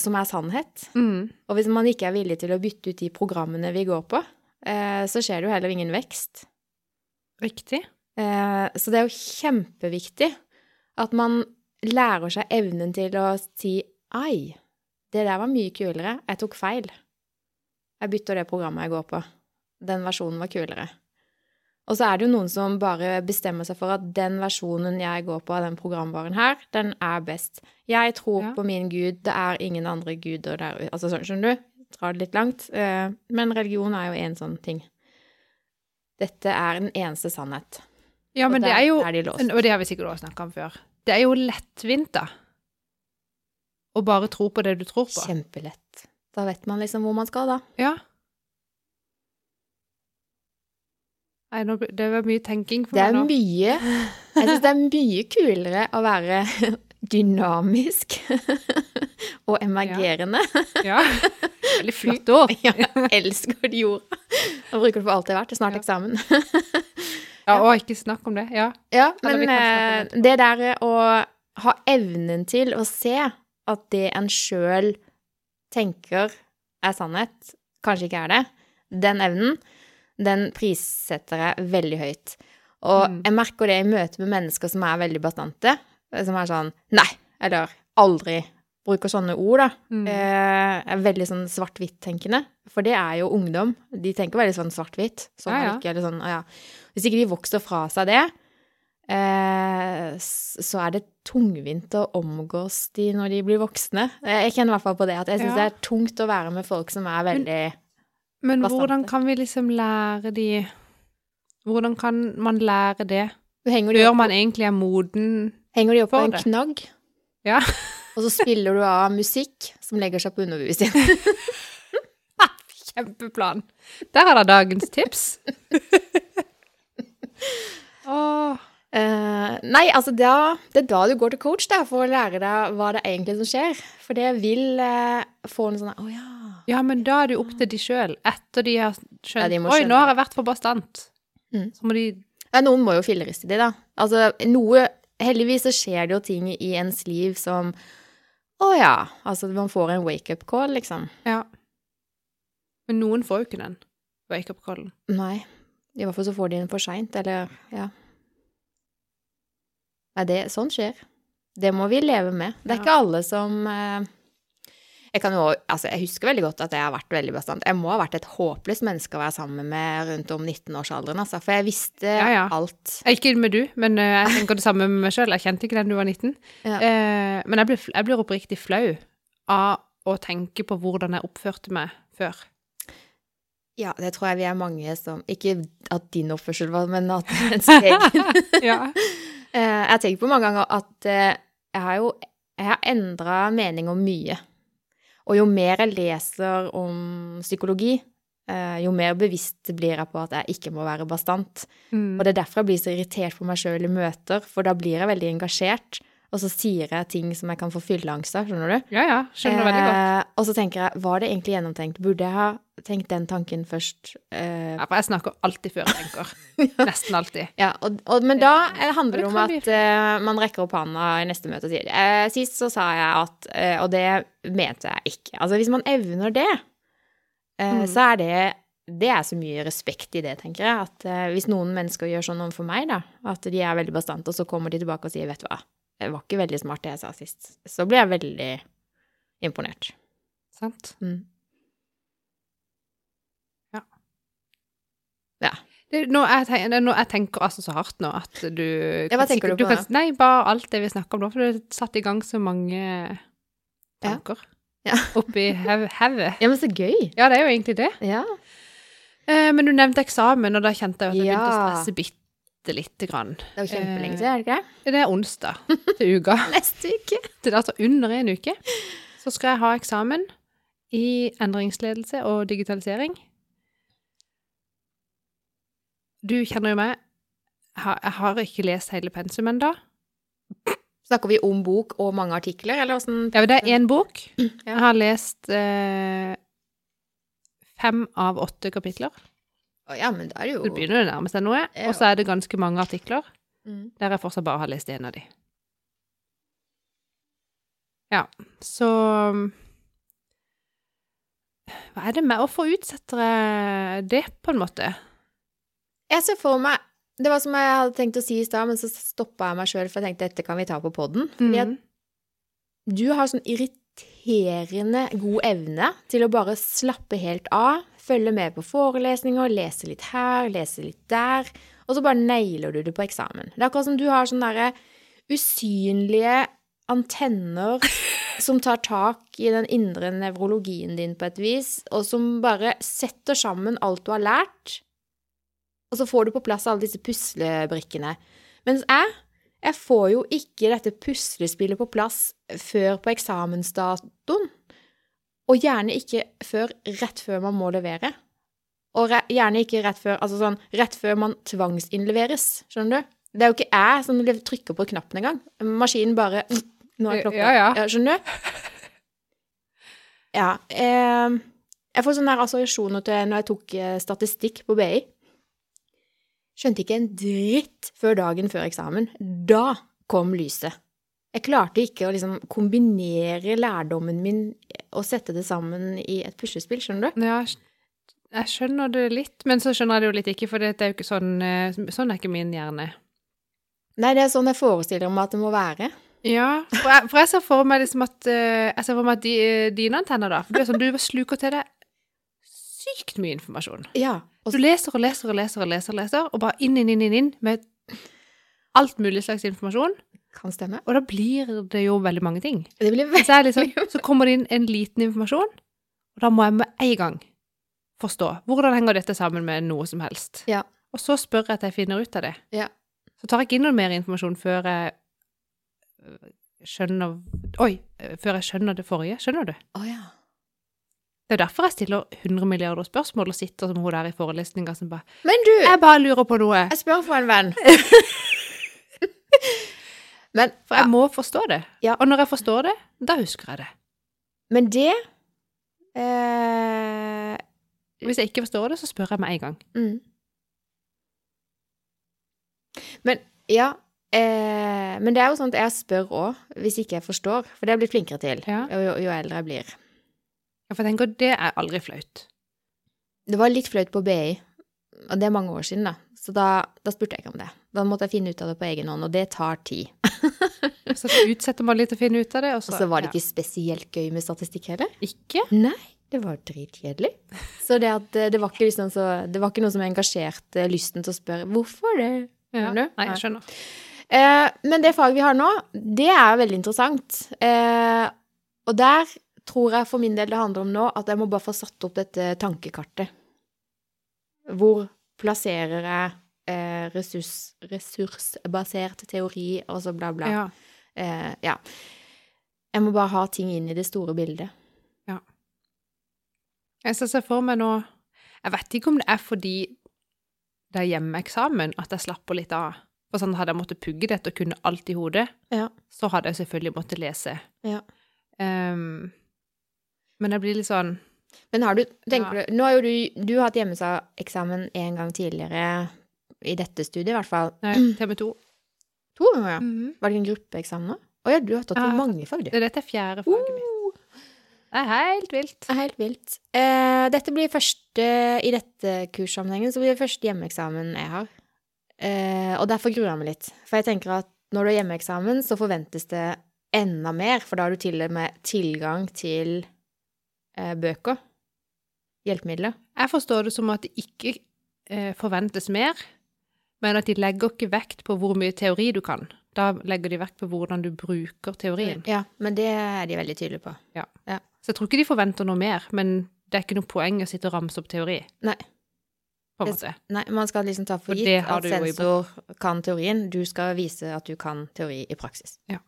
A: som er sannhet.
B: Mm.
A: Og hvis man ikke er villig til å bytte ut de programmene vi går på, eh, så skjer det jo heller ingen vekst.
B: Riktig.
A: Eh, Så det er jo kjempeviktig at man lærer seg evnen til å si Ai, det der var mye kulere. Jeg tok feil. Jeg bytter det programmet jeg går på. Den versjonen var kulere. Og så er det jo noen som bare bestemmer seg for at den versjonen jeg går på av den programvaren her, den er best. Jeg tror
B: Ja.
A: på min gud, det er ingen andre guder der ute. Altså, sånn, skjønner du? Drar det litt langt. Eh, Men religion er jo en sånn ting. Dette er den eneste sannhet.
B: Ja,
A: og
B: men det
A: der
B: er jo
A: er de låst.
B: Og det har vi sikkert også snakka om før. Det er jo lettvint, da. Å bare tro på det du tror på.
A: Kjempelett. Da vet man liksom hvor man skal, da.
B: Ja. Nei, nå, ble- det var mye tenking for
A: Det er
B: meg nå.
A: mye Jeg syns det er mye kulere å være dynamisk og emergerende.
B: Ja. Veldig flott ord.
A: Ja, jeg elsker de ordene. Jeg bruker det for alt det er verdt. Det er snart
B: Ja.
A: eksamen.
B: Ja, og ikke snakk om det. Ja.
A: Ja,
B: Eller vi
A: men
B: kan snakke om
A: eh, det der å ha evnen til å se at det en sjøl tenker er sannhet, kanskje ikke er det, den evnen, den prissetter jeg veldig høyt. Og
B: Mm.
A: jeg merker det i møte med mennesker som er veldig bastante, eh, som er sånn nei, eller aldri, bruker sånne ord, da.
B: Mm.
A: Eh, er veldig sånn svart-hvitt-tenkende. For det er jo ungdom. De tenker veldig sånn svart-hvitt. Sånn
B: Ja,
A: eller
B: ja.
A: ikke, eller sånn, ah, ja. Hvis ikke de vokser fra seg det, eh, s- så er det tungvint å omgås de når de blir voksne. Eh, Jeg kjenner i hvert fall på det at jeg syns
B: Ja.
A: det er tungt å være med folk som er
B: Men-
A: veldig
B: Men
A: bastante.
B: hvordan kan vi liksom lære de Hvordan kan man lære det?
A: Du henger de
B: Før
A: opp,
B: man egentlig er moden
A: henger de opp på
B: for
A: en
B: det.
A: knagg,
B: Ja.
A: og så spiller du av musikk som legger seg på underbevisningen.
B: Kjempeplan. Der er det dagens tips. Åh,
A: Eh, nei, altså da, det er da du går til coach da, for å lære deg hva det er egentlig som skjer. For det vil eh, få en sånn Å ja.
B: ja, men da er det jo opp til de sjøl, etter de har
A: Ja,
B: skjønt
A: de må
B: Oi,
A: skjønne
B: nå har jeg vært for bastant.
A: Mm.
B: Så må de
A: ja. Noen må jo filleriste de, da. Altså noe Heldigvis så skjer det jo ting i ens liv som Å ja. Altså man får en wake-up call, liksom.
B: Ja. Men noen får jo ikke den wake-up-callen.
A: Nei. I hvert fall så får de den for seint, eller Ja. Nei, det Sånt skjer. Det må vi leve med. Det er
B: Ja.
A: ikke alle som eh, jeg, kan jo, altså jeg husker veldig godt at jeg har vært veldig bastant. Jeg må ha vært et håpløst menneske å være sammen med rundt om 19-årsalderen, altså. For jeg visste
B: Ja, ja.
A: alt.
B: Eh, Ikke med du, men eh, jeg tenker det samme med meg sjøl. Jeg kjente ikke den du var 19.
A: Ja.
B: Eh, men jeg blir, fl- jeg blir oppriktig flau av å tenke på hvordan jeg oppførte meg før.
A: Ja, det tror jeg vi er mange som Ikke at din oppførsel var, men at ens egen.
B: ja.
A: Eh, jeg har tenkt på mange ganger at eh, jeg har jo jeg har endra mening om mye. Og jo mer jeg leser om psykologi, eh, jo mer bevisst blir jeg på at jeg ikke må være bastant.
B: Mm.
A: Og det er derfor jeg blir så irritert på meg sjøl i møter, for da blir jeg veldig engasjert, og så sier jeg ting som jeg kan få fylleangst av, skjønner du?
B: ja, ja. Skjønner veldig godt.
A: Eh, og så tenker jeg, var det egentlig gjennomtenkt? Burde jeg ha tenkt den tanken først? Eh,
B: Ja, for jeg snakker alltid før jeg tenker. Nesten alltid.
A: Ja, og, og, men da eh, handler det
B: Og
A: om
B: det kan
A: at eh, man rekker opp handa i neste møte og sier eh, Sist så sa jeg at eh, Og det mente jeg ikke. Altså, hvis man evner det, eh,
B: Mm.
A: så er det Det er så mye respekt i det, tenker jeg. At eh, hvis noen mennesker gjør sånn overfor meg, da, at de er veldig bastante, og så kommer de tilbake og sier 'vet du hva, det var ikke veldig smart det jeg sa sist', så blir jeg veldig imponert.
B: Sant?
A: Mm.
B: Det, nå, jeg tenker, det, nå, jeg tenker altså så hardt nå at du
A: Ja, hva tenker du på
B: kan, Nei, bare alt det vi snakker om nå, for du har satt i gang så mange tanker
A: Ja.
B: oppi hev- hevet.
A: Ja, men så gøy!
B: Ja, det er jo egentlig det.
A: Ja.
B: Eh, men du nevnte eksamen, og da kjente jeg jo at jeg begynte å
A: Ja.
B: stresse bitte lite grann.
A: Det er jo kjempelenge siden, er det ikke det?
B: Det er onsdag til uka.
A: Eh. Neste uke.
B: Det er altså under en uke. Så skal jeg ha eksamen i endringsledelse og digitalisering. Du kjenner jo meg. Jeg har- Jeg har ikke lest hele pensum ennå.
A: Snakker vi om bok og mange artikler, eller åssen
B: Ja, men det er én bok.
A: Ja.
B: Jeg har lest eh, fem av åtte kapitler.
A: Å ja, men da er det
B: Det
A: jo
B: begynner jo nærmest deg noe. Og så er det ganske mange artikler der jeg fortsatt bare har lest én av de. Ja, så mm, Hva er det med Hvorfor utsetter jeg det, på en måte?
A: Jeg ser for meg Det var som jeg hadde tenkt å si i stad, men så stoppa jeg meg sjøl, for jeg tenkte dette kan vi ta på poden. Fordi at
B: Mhm.
A: du har sånn irriterende god evne til å bare slappe helt av, følge med på forelesninger, lese litt her, lese litt der, og så bare nailer du det på eksamen. Det er akkurat som du har sånne derre usynlige antenner som tar tak i den indre nevrologien din på et vis, og som bare setter sammen alt du har lært, og så får du på plass alle disse puslebrikkene. Mens jeg jeg får jo ikke dette puslespillet på plass før på eksamensdatoen. Og gjerne ikke før rett før man må levere. Og re gjerne ikke rett før Altså sånn rett før man tvangsinnleveres, skjønner du? Det er jo ikke jeg som lev- trykker på knappen engang. Maskinen bare mm, Nå er klokka
B: Ja, ja.
A: Skjønner du? Ja. Eh, jeg får sånne her assosiasjoner til når jeg tok eh, statistikk på BI. Skjønte ikke en dritt før dagen før eksamen. Da kom lyset. Jeg klarte ikke å liksom kombinere lærdommen min og sette det sammen i et puslespill, skjønner du?
B: Ja, jeg skj- jeg skjønner det litt, men så skjønner jeg det jo litt ikke, for det er jo ikke sånn eh, Sånn er ikke min hjerne.
A: Nei, det er sånn jeg forestiller meg at det må være.
B: Ja, for jeg, for jeg ser for meg liksom at eh, Jeg ser for meg at di, dine antenner, da For det er sånn, du sluker til deg sykt mye informasjon.
A: Ja. Og
B: Du leser og leser og leser og leser, og leser, og bare inn, inn, inn, inn, inn med alt mulig slags informasjon.
A: kan stemme.
B: Og da blir det jo veldig mange ting.
A: Det blir
B: Men
A: veldig
B: Så, er det liksom, så kommer det inn en liten informasjon, og da må jeg med en gang forstå hvordan henger dette sammen med noe som helst.
A: Ja.
B: Og så spør jeg at jeg finner ut av det.
A: Ja.
B: Så tar jeg ikke inn noe mer informasjon før jeg øh, skjønner Oi! øh, Før jeg skjønner det forrige. Skjønner du?
A: Å ja.
B: Det er jo derfor jeg stiller 100 milliarder spørsmål og sitter som hun der i forelesninga som bare
A: Men du,
B: Jeg bare lurer på noe!
A: jeg spør for en venn. Men,
B: For jeg må forstå det.
A: Ja.
B: Og når jeg forstår det, da husker jeg det.
A: men det eh,
B: Hvis jeg ikke forstår det, så spør jeg med en gang.
A: Mm. Men ja eh, Men det er jo sånn at jeg spør òg, hvis ikke jeg forstår. For det har jeg blitt flinkere til
B: Ja.
A: jo, jo- jo eldre jeg blir.
B: Ja, For jeg tenker, det er aldri flaut.
A: Det var litt flaut på BI, og det er mange år siden, da. Så da, da spurte jeg ikke om det. Da måtte jeg finne ut av det på egen hånd, og det tar tid.
B: Så utsetter man litt å finne ut av det. Og så,
A: Og så var det ikke spesielt gøy med statistikk heller.
B: ja. Ikke?
A: Nei, det var dritkjedelig. Så det, at, eh, det, var ikke liksom så, det var ikke noe som engasjerte eh, lysten til å spørre hvorfor det.
B: Ja.
A: Skjønner du?
B: Nei,
A: Nei.
B: jeg skjønner.
A: Eh, men det faget vi har nå, det er veldig interessant. Eh, og der tror jeg for min del det handler om nå at jeg må bare få satt opp dette tankekartet. Hvor plasserer jeg eh, ressurs, ressursbasert teori, og så bla, bla.
B: Ja.
A: Eh, ja. Jeg må bare ha ting inn i det store bildet.
B: Jeg ser seg for meg nå Jeg vet ikke om det er fordi det er hjemmeeksamen at jeg slapper litt av. For sånn Hadde jeg måttet pugge dette og kunne alt i hodet,
A: Ja.
B: så hadde jeg selvfølgelig måttet lese.
A: Ja.
B: Ehm, men jeg blir litt sånn
A: Men har du, tenker du, nå har jo du, du har hatt hjemmeeksamen en gang tidligere, i dette studiet i hvert fall.
B: Nei, TV 2.
A: To ganger, ja.
B: Mhm.
A: Var det en gruppeeksamen nå? Å ja, du har tatt
B: Ja.
A: mange fag, du.
B: Det er Dette er fjerde faget mitt. Det er helt vilt.
A: Uh, Det er helt vilt. Eh, dette blir første, I dette kurssammenhengen så blir det første hjemmeeksamen jeg har. Eh, og derfor gruer jeg meg litt. For jeg tenker at når du har hjemmeeksamen, så forventes det enda mer, for da har du til og med tilgang til eh, bøker. Hjelpemidler.
B: Jeg forstår det som at det ikke eh, forventes mer, men at de legger ikke vekt på hvor mye teori du kan. Da legger de vekt på hvordan du bruker teorien.
A: Ja, men det er de veldig tydelige på.
B: Så jeg tror ikke de forventer noe mer, men det er ikke noe poeng å sitte og ramse opp teori.
A: Nei.
B: På en
A: Det-
B: måte.
A: Nei, man skal liksom ta for
B: For det
A: gitt
B: har
A: at
B: du jo i
A: sensor kan teorien. Du skal vise at du kan teori i praksis.
B: Ja.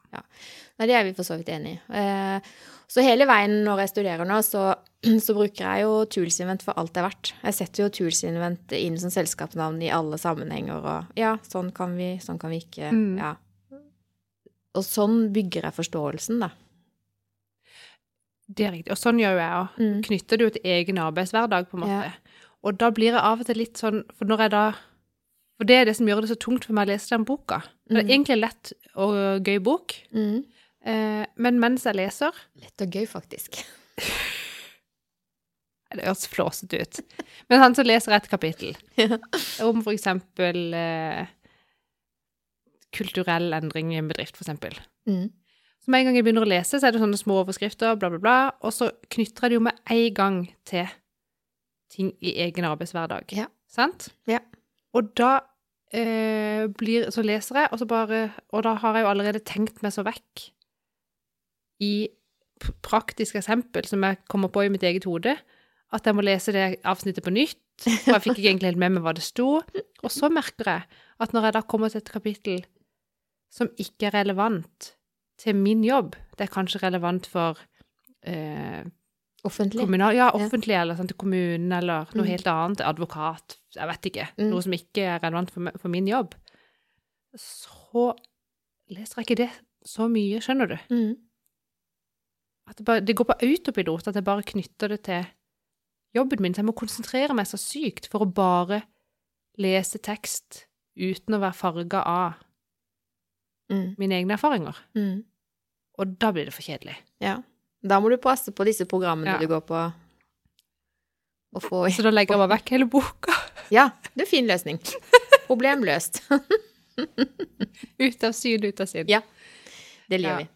A: Nei, det er vi for så vidt enig i. Eh, Så hele veien når jeg studerer nå, så, så bruker jeg jo Tools Invent for alt det er verdt. Jeg setter jo Tools Invent inn som selskapsnavn i alle sammenhenger, og ja, sånn kan vi, sånn kan vi ikke,
B: Mm.
A: ja. Og sånn bygger jeg forståelsen, da.
B: Det er riktig. Og sånn gjør jo jeg òg.
A: Mm.
B: Knytter det jo til egen arbeidshverdag, på en måte.
A: Ja.
B: Og da blir jeg av og til litt sånn For når jeg da For det er det som gjør det så tungt for meg å lese den boka. For Det
A: Mm.
B: er egentlig en lett og gøy bok,
A: Mm.
B: Eh, men mens jeg leser
A: Litt og gøy, faktisk.
B: Det høres flåsete ut. Men han som leser et kapittel
A: Ja.
B: om for eksempel eh, kulturell endring i en bedrift, for eksempel.
A: Mm.
B: Så med en gang jeg begynner å lese, så er det sånne små overskrifter, bla, bla, bla, og så knytter jeg det jo med en gang til ting i egen arbeidshverdag.
A: Ja.
B: Sant?
A: Ja.
B: Og da eh, blir, så leser jeg, og, så bare, og da har jeg jo allerede tenkt meg så vekk i p- praktiske eksempel som jeg kommer på i mitt eget hode, at jeg må lese det avsnittet på nytt, og jeg fikk ikke egentlig helt med meg hva det sto. Og så merker jeg at når jeg da kommer til et kapittel som ikke er relevant til min jobb, det er kanskje relevant for eh,
A: Offentlig.
B: kommunal, ja, offentlig eller sånn, til kommunen eller noe
A: Mm.
B: helt annet, advokat, jeg vet ikke,
A: Mm.
B: noe som ikke er relevant for, me- for min jobb, så leser jeg ikke det så mye, skjønner du?
A: Mm.
B: At det, bare, det går på autopilot, at jeg bare knytter det til jobben min, så jeg må konsentrere meg så sykt for å bare lese tekst uten å være farget av
A: Mm.
B: mine egne erfaringer.
A: Mm.
B: Og da blir det for kjedelig.
A: Ja. Da må du passe på disse programmene
B: Ja.
A: du går på. Og få
B: Så da legger jeg bare vekk hele boka
A: Ja, det er en fin løsning. Problem løst.
B: ut av syn, ut av sinn.
A: Ja. Det liker
B: Ja.
A: vi.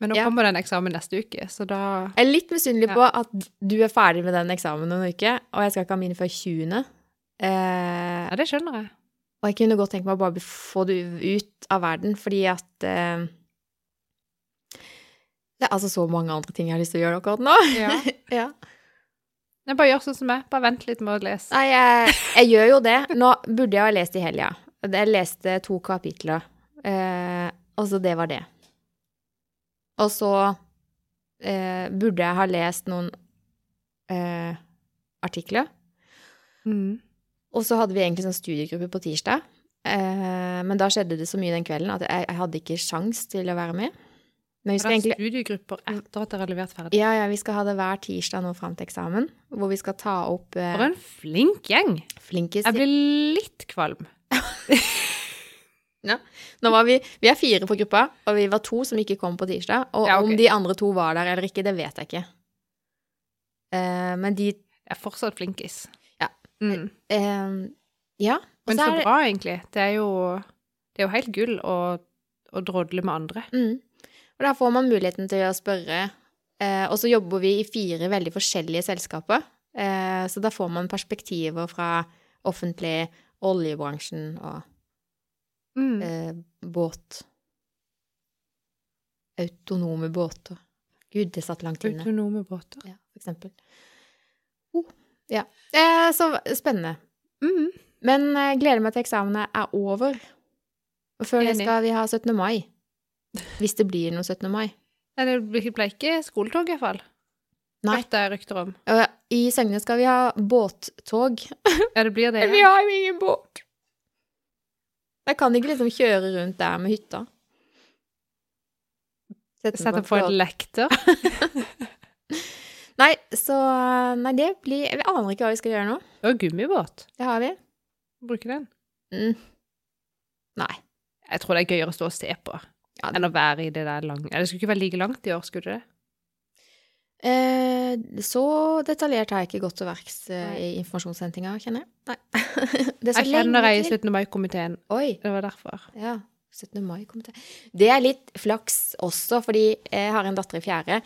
B: Men nå
A: Ja.
B: kommer det en eksamen neste uke, så da
A: Jeg er litt misunnelig på at du er ferdig med den eksamen om en uke, og jeg skal ikke ha mine før 20. Eh,
B: Ja, det skjønner jeg.
A: og jeg kunne godt tenke meg å bare få det ut av verden, fordi at eh, Det er altså så mange andre ting jeg har lyst til å gjøre akkurat nå. Ja.
B: Nei, bare gjør sånn som meg. Bare vent litt med å lese.
A: Nei, jeg, jeg gjør jo det. Nå burde jeg ha lest i helga. Jeg leste to kapitler. Eh, og så det var det. Og så eh, burde jeg ha lest noen eh, artikler.
B: Mm.
A: Og så hadde vi egentlig sånn studiegruppe på tirsdag. Eh, men da skjedde det så mye den kvelden at jeg, jeg hadde ikke sjans til å være med. Men vi
B: Og
A: skal
B: det er
A: egentlig
B: studiegrupper etter at dere har levert ferdig.
A: ja, ja, vi skal ha det hver tirsdag nå fram til eksamen, hvor vi skal ta opp
B: For
A: eh,
B: en flink gjeng!
A: flinkis
B: Jeg blir litt kvalm.
A: Nå var vi, vi er fire på gruppa, og vi var to som ikke kom på tirsdag. Og
B: Ja, ok.
A: om de andre to var der eller ikke, det vet jeg ikke. Eh, men de
B: Jeg er fortsatt flinkis.
A: Ja.
B: Mm.
A: eh, Ja. og
B: Men så
A: er det-
B: bra, egentlig. Det er jo, det er jo helt gull å, å drodle med andre.
A: Mm. Og der får man muligheten til å spørre. Eh, og så jobber vi i fire veldig forskjellige selskaper. Eh, så da får man perspektiver fra offentlig, oljebransjen og
B: Mm.
A: eh, båt Autonome båter. Gud, det satt langt inne.
B: Autonome båter.
A: Ja, for eksempel. Oh, ja. Eh, så spennende.
B: Mm.
A: Men eh, gleder meg til eksamene er over. Og før det
B: Enig.
A: skal vi ha 17. mai. Hvis det blir noe 17. mai.
B: Nei, det blir- ble ikke skoletog, i hvert fall.
A: Nei.
B: Hørte jeg rykter om.
A: Og I Søgne skal vi ha båttog.
B: Ja, det blir det.
A: Men Vi har jo ingen båt! Jeg kan ikke liksom kjøre rundt der med hytta. Sette meg
B: Sette
A: på
B: på
A: båt.
B: en lekter.
A: Nei, så eh, Nei, det blir Jeg aner ikke hva vi skal gjøre nå.
B: Og gummibåt.
A: Det har vi.
B: Bruke den.
A: Mm. Nei.
B: Jeg tror det er gøyere å stå og se på
A: Ja, det-
B: enn å være i det der lange Eller Det skulle ikke være like langt i år, skulle det det?
A: Eh, så detaljert har jeg ikke gått til verks eh,
B: Nei.
A: i informasjonshentinga, kjenner jeg. Nei. Det er så
B: Jeg kjenner
A: lenge
B: jeg i
A: til.
B: 17. mai-komiteen.
A: Oi.
B: Det var derfor.
A: Ja. 17. mai kom til. Det er litt flaks også, fordi jeg har en datter i fjerde.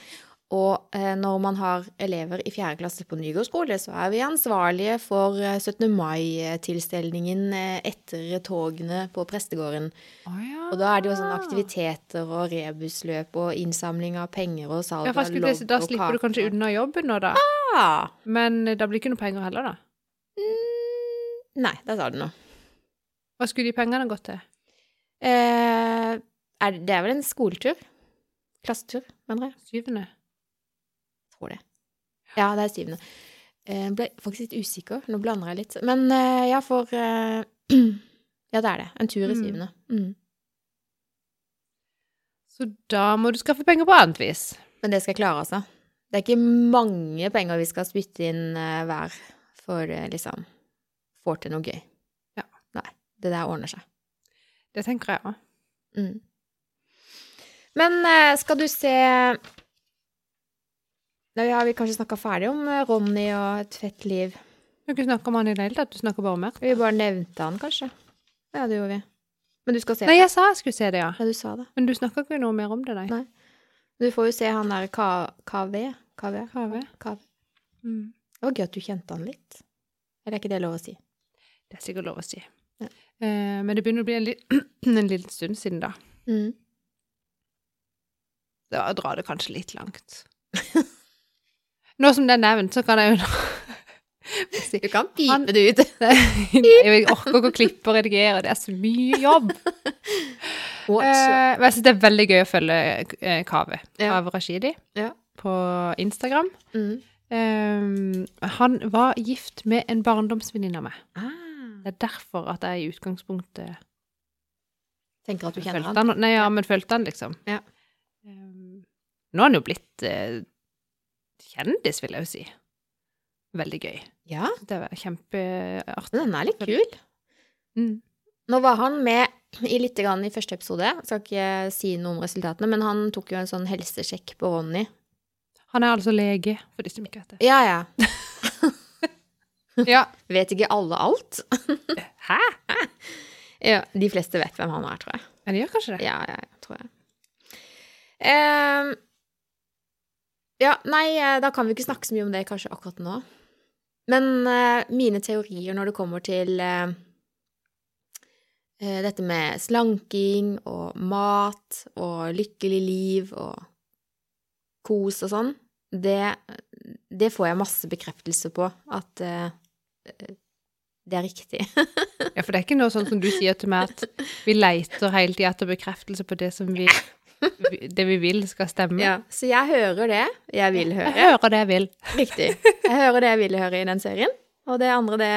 A: Og eh, når man har elever i fjerde klasse på Nygård skole, så er vi ansvarlige for eh, 17. mai-tilstelningen eh, etter togene på prestegården. Og da er det jo
B: Ah.
A: sånn sånne aktiviteter og rebusløp og innsamling av penger og salg
B: Ja, for
A: av
B: jeg skulle til å si, Da
A: lodd og
B: slipper du
A: kaker.
B: kanskje unna jobben nå, da.
A: Ja.
B: Men eh, da blir ikke noe penger heller, da.
A: Mm, nei, der sa du noe.
B: Hva skulle de pengene gått til?
A: Eh, er, det- det er vel en skoletur? Klassetur, mener jeg.
B: Syvende?
A: Tror det. Ja, det er syvende. Eh, ble faktisk litt usikker. Nå blander jeg litt. Men eh, ja, for eh, Ja, det er det. En tur i
B: Mm.
A: syvende. Mm.
B: Så da må du skaffe penger på annet vis.
A: Men det skal jeg klare, altså. Det er ikke mange penger vi skal spytte inn eh, hver for eh, liksom får til noe gøy.
B: Ja.
A: Nei. Det der ordner seg.
B: Det tenker jeg òg.
A: Mm. Men eh, skal du se Nå har vi kanskje snakka ferdig om eh, Ronny og et fett liv.
B: Du har ikke snakka om han i det hele tatt, du snakker bare om Mert.
A: Vi bare nevnte han, kanskje. Ja, det gjorde vi. Men du skal se
B: Nei,
A: det?
B: jeg sa jeg skulle se det, ja.
A: Ja, du sa det.
B: Men du snakka ikke noe mer om det, nei.
A: Nei. Du får jo se han der Ka- KV. KV.
B: KV.
A: KV.
B: Mm.
A: Det var gøy at du kjente han litt. Eller er ikke det lov å si?
B: Det er sikkert lov å si.
A: Ja.
B: Eh, men det begynner å bli en, li en liten stund siden, da.
A: Mm.
B: Da drar det kanskje litt langt. Nå som det er nevnt, så kan jeg jo si
A: Du kan
B: Han-
A: pipe det ut.
B: Jeg orker ikke å klippe og redigere, det er så mye jobb. Eh, men jeg syns det er veldig gøy å følge eh, Kaveh,
A: Ja.
B: Kaveh Rashidi,
A: Ja.
B: på Instagram.
A: Mm.
B: Eh, han var gift med en barndomsvenninne av meg.
A: Ah.
B: Det er derfor at jeg i utgangspunktet
A: Tenker at du kjenner
B: følte
A: han.
B: han. Nei, ja, men følte han, liksom.
A: Ja.
B: Eh, nå er han jo blitt eh, kjendis, vil jeg jo si. Veldig gøy.
A: Ja,
B: Det var kjempeartig.
A: men han er litt kul.
B: Mm.
A: Nå var han med i litt grann i første episode. Jeg skal ikke si noe om resultatene, men han tok jo en sånn helsesjekk på Ronny.
B: Han er altså lege, for de som ikke vet det.
A: Ja, ja.
B: Ja.
A: Vet ikke alle alt?
B: Hæ?
A: Ja, De fleste vet hvem han er, tror jeg.
B: Ja, de gjør kanskje det.
A: Ja, ja, ja, tror jeg. Ehm, ja, nei, eh, da kan vi ikke snakke så mye om det kanskje akkurat nå. Men eh, mine teorier når det kommer til eh, eh, dette med slanking og mat og lykkelig liv og kos og sånn, det, det får jeg masse bekreftelse på at eh, eh, det er riktig.
B: Ja, for det er ikke noe sånn som du sier til meg, at vi leiter hele tida etter bekreftelse på det som vi vi- Det vi vil, skal stemme.
A: Så jeg hører det jeg vil høre.
B: Jeg hører det jeg vil.
A: Riktig. Jeg hører det jeg ville høre i den serien, og det andre, det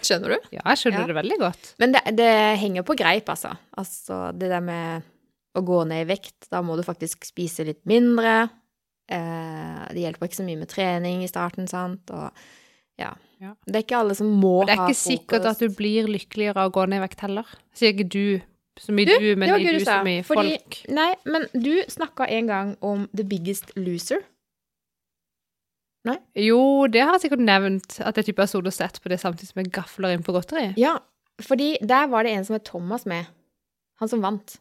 A: Skjønner du?
B: Ja, jeg skjønner
A: Ja.
B: det veldig godt.
A: Men det, det henger på greip, altså. Altså det der med å gå ned i vekt, da må du faktisk spise litt mindre. Eh, det hjelper ikke så mye med trening i starten, sant, og ja.
B: Ja.
A: Det er ikke alle som må
B: Og det er
A: ha
B: ikke sikkert at
A: frokost.
B: du blir lykkeligere av å gå ned i vekt heller. Sier ikke du så mye du, men
A: det var
B: i
A: gøy
B: du
A: du
B: så
A: sa,
B: mye
A: fordi-
B: folk.
A: Nei, men du snakka en gang om The Biggest Loser.
B: Jo, det har jeg sikkert nevnt, at jeg type har sittet og sett på det samtidig som jeg gafler inn på godteri.
A: Ja, fordi der var det en som het Thomas med. Han som vant.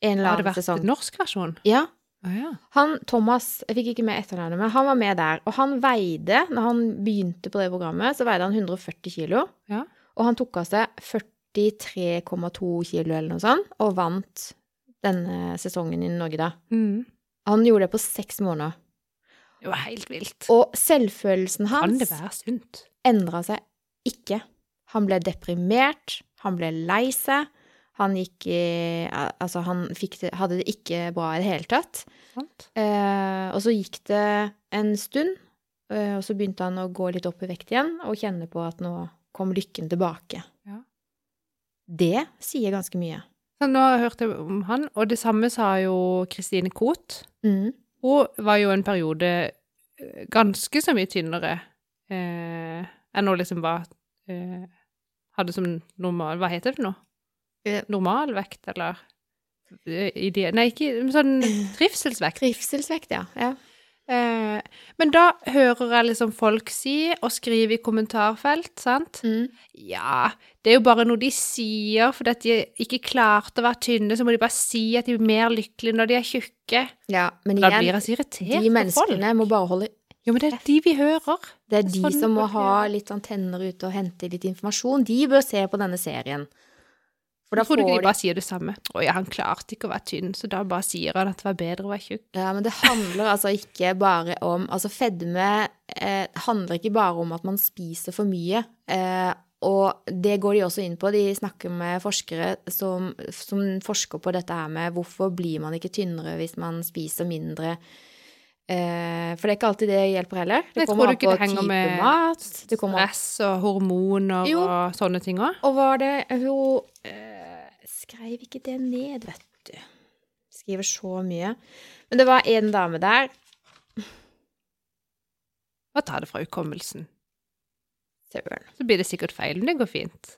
A: En eller
B: Har
A: annen
B: det vært
A: sesong.
B: en norsk versjon?
A: Ja,
B: Å ja.
A: han Thomas, jeg fikk ikke med etternavnet, men han var med der. Og han veide, når han begynte på det programmet, så veide han 140 kilo.
B: Ja.
A: Og han tok av seg 43,2 kilo eller noe sånt, og vant denne sesongen i Norge da.
B: Mm.
A: Han gjorde det på seks måneder.
B: Det var helt vilt.
A: Og selvfølelsen
B: Kan
A: hans
B: det være sunt?
A: endra seg ikke. Han ble deprimert, han ble lei seg, han gikk i Altså, han fikk det, hadde det ikke bra i det hele tatt.
B: Sant?
A: Eh, og så gikk det en stund, eh, og så begynte han å gå litt opp i vekt igjen og kjenne på at nå kom lykken tilbake.
B: Ja.
A: Det sier ganske mye.
B: Så nå hørte jeg om han, og det samme sa jo Kristine Koht.
A: Mm.
B: Hun var jo en periode eh, ganske så mye tynnere eh, enn hun liksom var eh, Hadde som normal Hva heter det for noe?
A: Eh.
B: Normalvekt, eller eh, ide- Nei, ikke men sånn trivselsvekt.
A: Trivselsvekt, ja. ja.
B: Eh, men da hører jeg liksom folk si, og skrive i kommentarfelt, sant
A: Mm.
B: Ja, det er jo bare noe de sier fordi at de ikke klarte å være tynne, så må de bare si at de er mer lykkelige når de er tjukke.
A: ja. Men
B: Da blir
A: igjen,
B: jeg så irritert
A: de
B: på folk.
A: menneskene må bare holde
B: Jo, men det er de vi hører.
A: Det er de
B: Sånn
A: som må
B: burde det
A: ha litt sånn tenner ute og hente litt informasjon. De bør se på denne serien. For da
B: tror
A: får
B: du ikke de
A: de
B: bare sier det samme? Å ja, han klarte ikke å være tynn, så da bare sier han at det var bedre å være tjukk.
A: Ja, men det handler altså ikke bare om Altså, fedme eh, handler ikke bare om at man spiser for mye. Eh, og det går de også inn på. De snakker med forskere som, som forsker på dette her med hvorfor blir man ikke tynnere hvis man spiser mindre. Eh, for det er ikke alltid det hjelper heller.
B: Jeg
A: Det
B: tror
A: kommer
B: du
A: an
B: ikke
A: på
B: det henger
A: type
B: med
A: mat. Det kommer an
B: Stress og hormoner
A: Jo.
B: og sånne ting òg.
A: Og var det Hun eh, skrev ikke det ned, vet du. Skriver så mye. Men det var en dame der.
B: Bare ta det fra hukommelsen.
A: Søren.
B: Så blir det sikkert feil, men det går fint.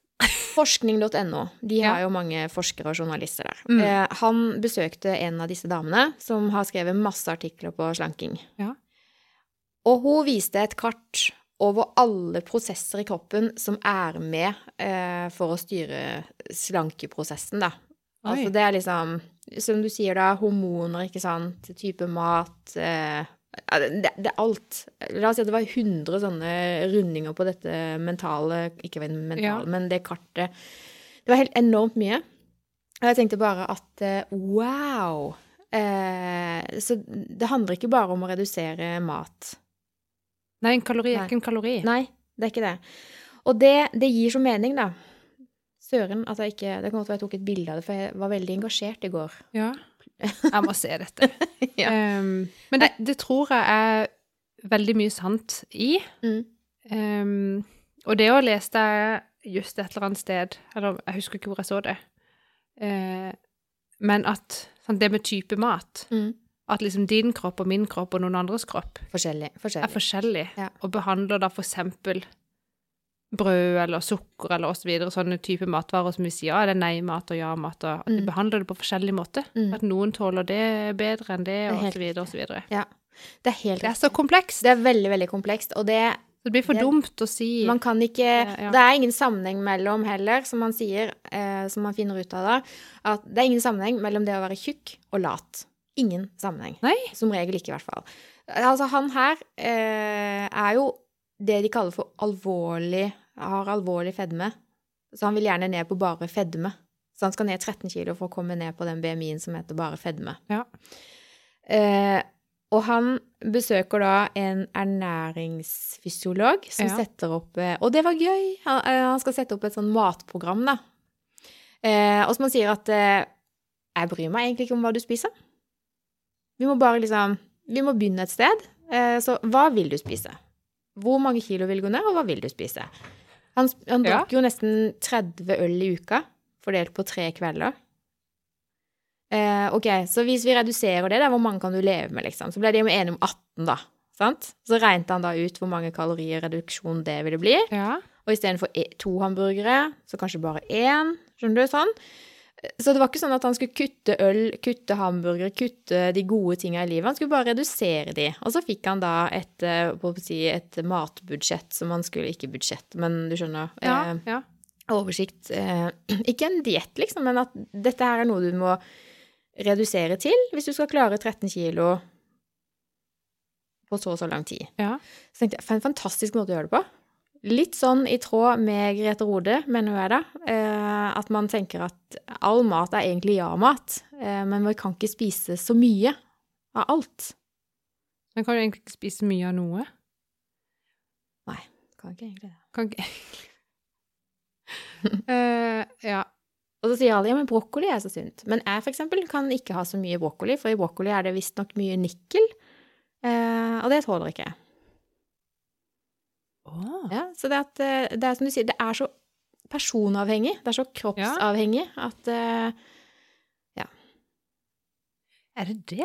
A: Forskning.no. De har
B: Ja.
A: jo mange forskere og journalister der.
B: Mm.
A: Eh, han besøkte en av disse damene som har skrevet masse artikler på slanking.
B: Ja.
A: Og hun viste et kart over alle prosesser i kroppen som er med eh, for å styre slankeprosessen, da. Altså
B: Oi.
A: det er liksom, som du sier da, hormoner, ikke sant, type mat, eh, ja, det, det er alt. La oss si at det var 100 sånne rundinger på dette mentale, ikke mentale,
B: Ja.
A: men det kartet. Det var helt enormt mye. Og jeg tenkte bare at eh, wow! Eh, så det handler ikke bare om å redusere mat.
B: Nei, en kalori er
A: Nei.
B: ikke en kalori.
A: Nei, det er ikke det. Og det, det gir så mening, da. Søren at jeg ikke Det kan godt være jeg tok et bilde av det, for jeg var veldig engasjert i går.
B: Ja. Jeg må se dette.
A: Ja.
B: Ehm, men det, det tror jeg er veldig mye sant i.
A: Mm.
B: Ehm, og det å lese det just et eller annet sted, eller jeg husker ikke hvor jeg så det, Eh, men at sånn, det med type mat,
A: Mm.
B: at liksom din kropp og min kropp og noen andres kropp
A: Forskjellig.
B: er
A: forskjellig.
B: forskjellig,
A: Ja.
B: og behandler da for eksempel brød eller sukker eller og så videre, sånne type matvarer som vi sier, ja, det er nei-mat og ja-mat, og at de
A: Mm.
B: behandler det på forskjellig måte.
A: Mm.
B: At noen tåler det bedre enn det,
A: er
B: og
A: helt
B: så videre, og så videre.
A: Ja. Det er helt
B: Det er så komplekst.
A: Det er veldig, veldig komplekst. Og det,
B: Det blir for
A: Det-
B: dumt å si.
A: man kan ikke,
B: Ja, ja.
A: det er ingen sammenheng mellom heller, som man sier, eh, som man finner ut av da, at det er ingen sammenheng mellom det å være tjukk og lat. Ingen sammenheng.
B: Nei.
A: Som regel ikke, i hvert fall. Altså, han her eh, er jo det de kaller for alvorlig, har alvorlig fedme. Så han vil gjerne ned på bare fedme. Så han skal ned 13 kilo for å komme ned på den BMI-en som heter bare fedme.
B: Ja.
A: Eh, og han besøker da en ernæringsfysiolog som
B: Ja.
A: setter opp eh, Og det var gøy! Han, eh, han skal sette opp et sånn matprogram, da. Eh, og som han sier at eh, Jeg bryr meg egentlig ikke om hva du spiser. Vi må bare liksom Vi må begynne et sted. Eh, så hva vil du spise? Hvor mange kilo vil gå ned, og hva vil du spise? Han, sp- han
B: Ja.
A: drakk jo nesten 30 øl i uka, fordelt på tre kvelder. Eh, ok, så hvis vi reduserer det, da, hvor mange kan du leve med, liksom? Så ble de jo enige om 18, da. Sant? Så regnet han da ut hvor mange kalorier reduksjon det ville bli.
B: Ja.
A: Og istedenfor e- to hamburgere, så kanskje bare én. Skjønner du? Sånn. Så det var ikke sånn at han skulle kutte øl, kutte hamburgere, kutte de gode tinga i livet. Han skulle bare redusere de. Og så fikk han da et, eh, hva skal jeg si, et matbudsjett som han skulle Ikke budsjett, men du skjønner.
B: Ja.
A: eh,
B: ja.
A: oversikt. Eh, ikke en diett, liksom, men at dette her er noe du må redusere til hvis du skal klare 13 kilo på så og så lang tid.
B: ja.
A: Så tenkte jeg, for en fantastisk måte å gjøre det på. Litt sånn i tråd med Grete Rode, mener hun er det. Eh, at man tenker at all mat er egentlig ja-mat, eh, men vi kan ikke spise så mye av alt.
B: Men kan du egentlig ikke spise mye av noe?
A: Kan ikke egentlig det.
B: Kan ikke Eh, Ja.
A: Og så sier alle ja, men brokkoli er så sunt. Men jeg for eksempel kan ikke ha så mye brokkoli, for i brokkoli er det visstnok mye nikkel. Eh, og det tåler ikke jeg.
B: Åh.
A: Ja, så det, at, eh, det er som du sier, det er så personavhengig, det er så kroppsavhengig at eh,
B: Er det det?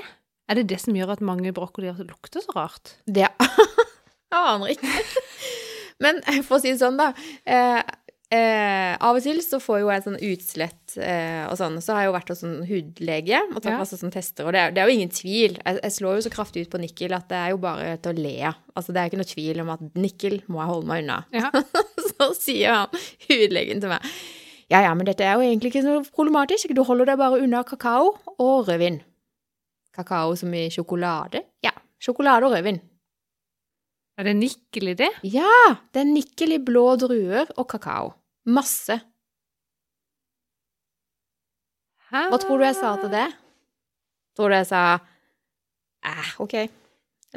B: Er det det som gjør at mange brokkolier lukter så rart?
A: Det Jeg aner ikke. Men for å si det sånn, da. Eh, eh, av og til så får jo jeg sånn utslett eh, og sånn. Så har jeg jo vært hos en hudlege og tatt
B: Ja.
A: masse sånn tester, og det er, det er jo ingen tvil. Jeg, jeg slår jo så kraftig ut på nikkel at det er jo bare til å le av. Altså, det er jo ikke noe tvil om at nikkel må jeg holde meg unna.
B: Ja.
A: Så sier han hudlegen til meg Ja, ja, men dette er jo egentlig ikke noe problematisk. Du holder deg bare unna kakao og rødvin. Kakao som i sjokolade? Ja. Sjokolade og rødvin.
B: Er det nikkel i det?
A: Ja! Det er nikkel i blå druer og kakao. Masse.
B: Hæ?
A: Hva tror du jeg sa til det? Tror du jeg sa eh, ok,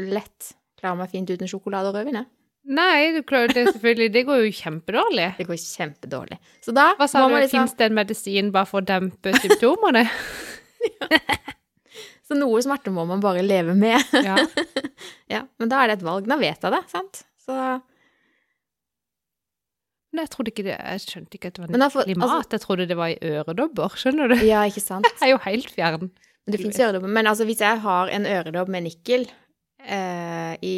A: lett. Klarer meg fint uten sjokolade og rødvin, jeg.
B: Nei, du klarer det selvfølgelig. Det går jo kjempedårlig.
A: Det går kjempedårlig. Så da
B: Hva sa
A: må
B: du?
A: man liksom
B: Fins det en medisin bare for å dempe symptomene?
A: Så noe smerte må man bare leve med.
B: Ja.
A: Ja, men da er det et valg. Da vet jeg det, sant? Så,
B: Nei, jeg trodde ikke det. Jeg skjønte ikke at det var
A: Men da får-
B: nikkelig mat.
A: altså-
B: jeg trodde det var i øredobber, skjønner du?
A: ja, ikke sant?
B: Jeg er jo helt fjern.
A: Men det fins øredobber. Men altså, hvis jeg har en øredobb med nikkel eh, i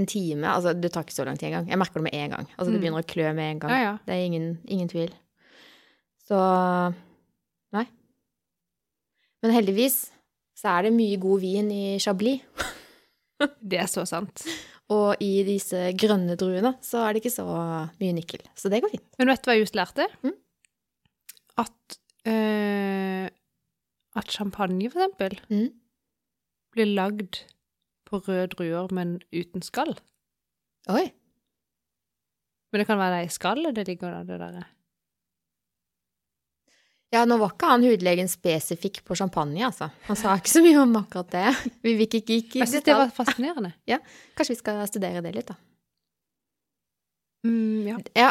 A: en time Altså, det tar ikke så lang tid engang. Jeg merker det med en gang. Altså, det
B: Mm.
A: begynner å klø med en gang.
B: Ja, ja.
A: Det er ingen, ingen tvil. Så Nei. Men heldigvis så er det mye god vin i Chablis.
B: Det er så sant.
A: Og i disse grønne druene så er det ikke så mye nikkel. Så det går fint.
B: Men vet du hva jeg just lærte?
A: Mm.
B: At, eh, at champagne, for eksempel,
A: Mm.
B: blir lagd på røde druer, men uten skall.
A: Oi.
B: Men det kan være det i skallet det ligger da, det der.
A: Ja, nå var ikke han hudlegen spesifikk på champagne, altså. Han sa ikke så mye om akkurat det. Vi gikk ikke gikk i
B: Jeg synes det
A: detalj.
B: var fascinerende.
A: Kanskje vi skal studere det litt, da.
B: Mm, ja.
A: Ja.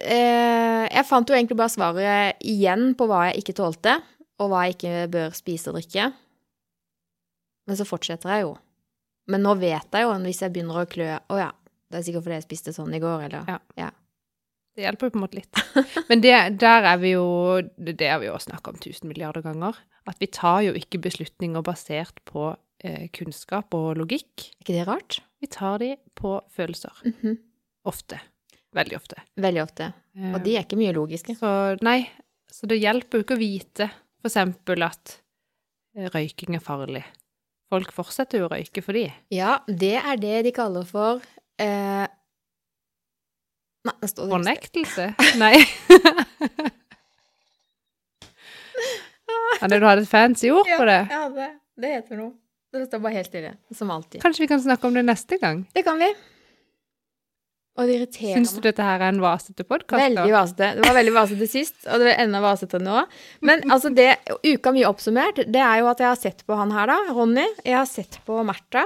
A: Eh, jeg fant jo egentlig bare svaret igjen på hva jeg ikke tålte, og hva jeg ikke bør spise og drikke. Men så fortsetter jeg jo. Men nå vet jeg jo hvis jeg begynner å klø Å ja, det er sikkert fordi jeg spiste sånn i går, eller
B: Ja. Det hjelper jo på en måte litt. Men det, der er vi jo Det det har vi jo snakka om tusen milliarder ganger. At vi tar jo ikke beslutninger basert på eh, kunnskap og logikk.
A: Er ikke det rart?
B: Vi tar de på følelser.
A: Mhm.
B: Ofte. Veldig ofte.
A: Veldig ofte.
B: Eh,
A: Og de er ikke mye logiske.
B: Så nei, så det hjelper jo ikke å vite for eksempel at eh, røyking er farlig. Folk fortsetter jo å røyke for de.
A: Ja, det er det de kaller for eh... Nei, det står det
B: Fornektelse? Nei. Ja, det du hadde et fancy ord på det.
A: Ja, det, det heter noe. Det står bare helt stille. Som alltid.
B: Kanskje vi kan snakke om det neste gang?
A: Det kan vi. Og det irriterer
B: Syns du
A: meg.
B: dette her er en vasete podkast?
A: Veldig vasete. Det var veldig vasete sist, og det er enda vasetere nå. Men altså, det uka mye oppsummert, det er jo at jeg har sett på han her, da. Ronny. Jeg har sett på Märtha.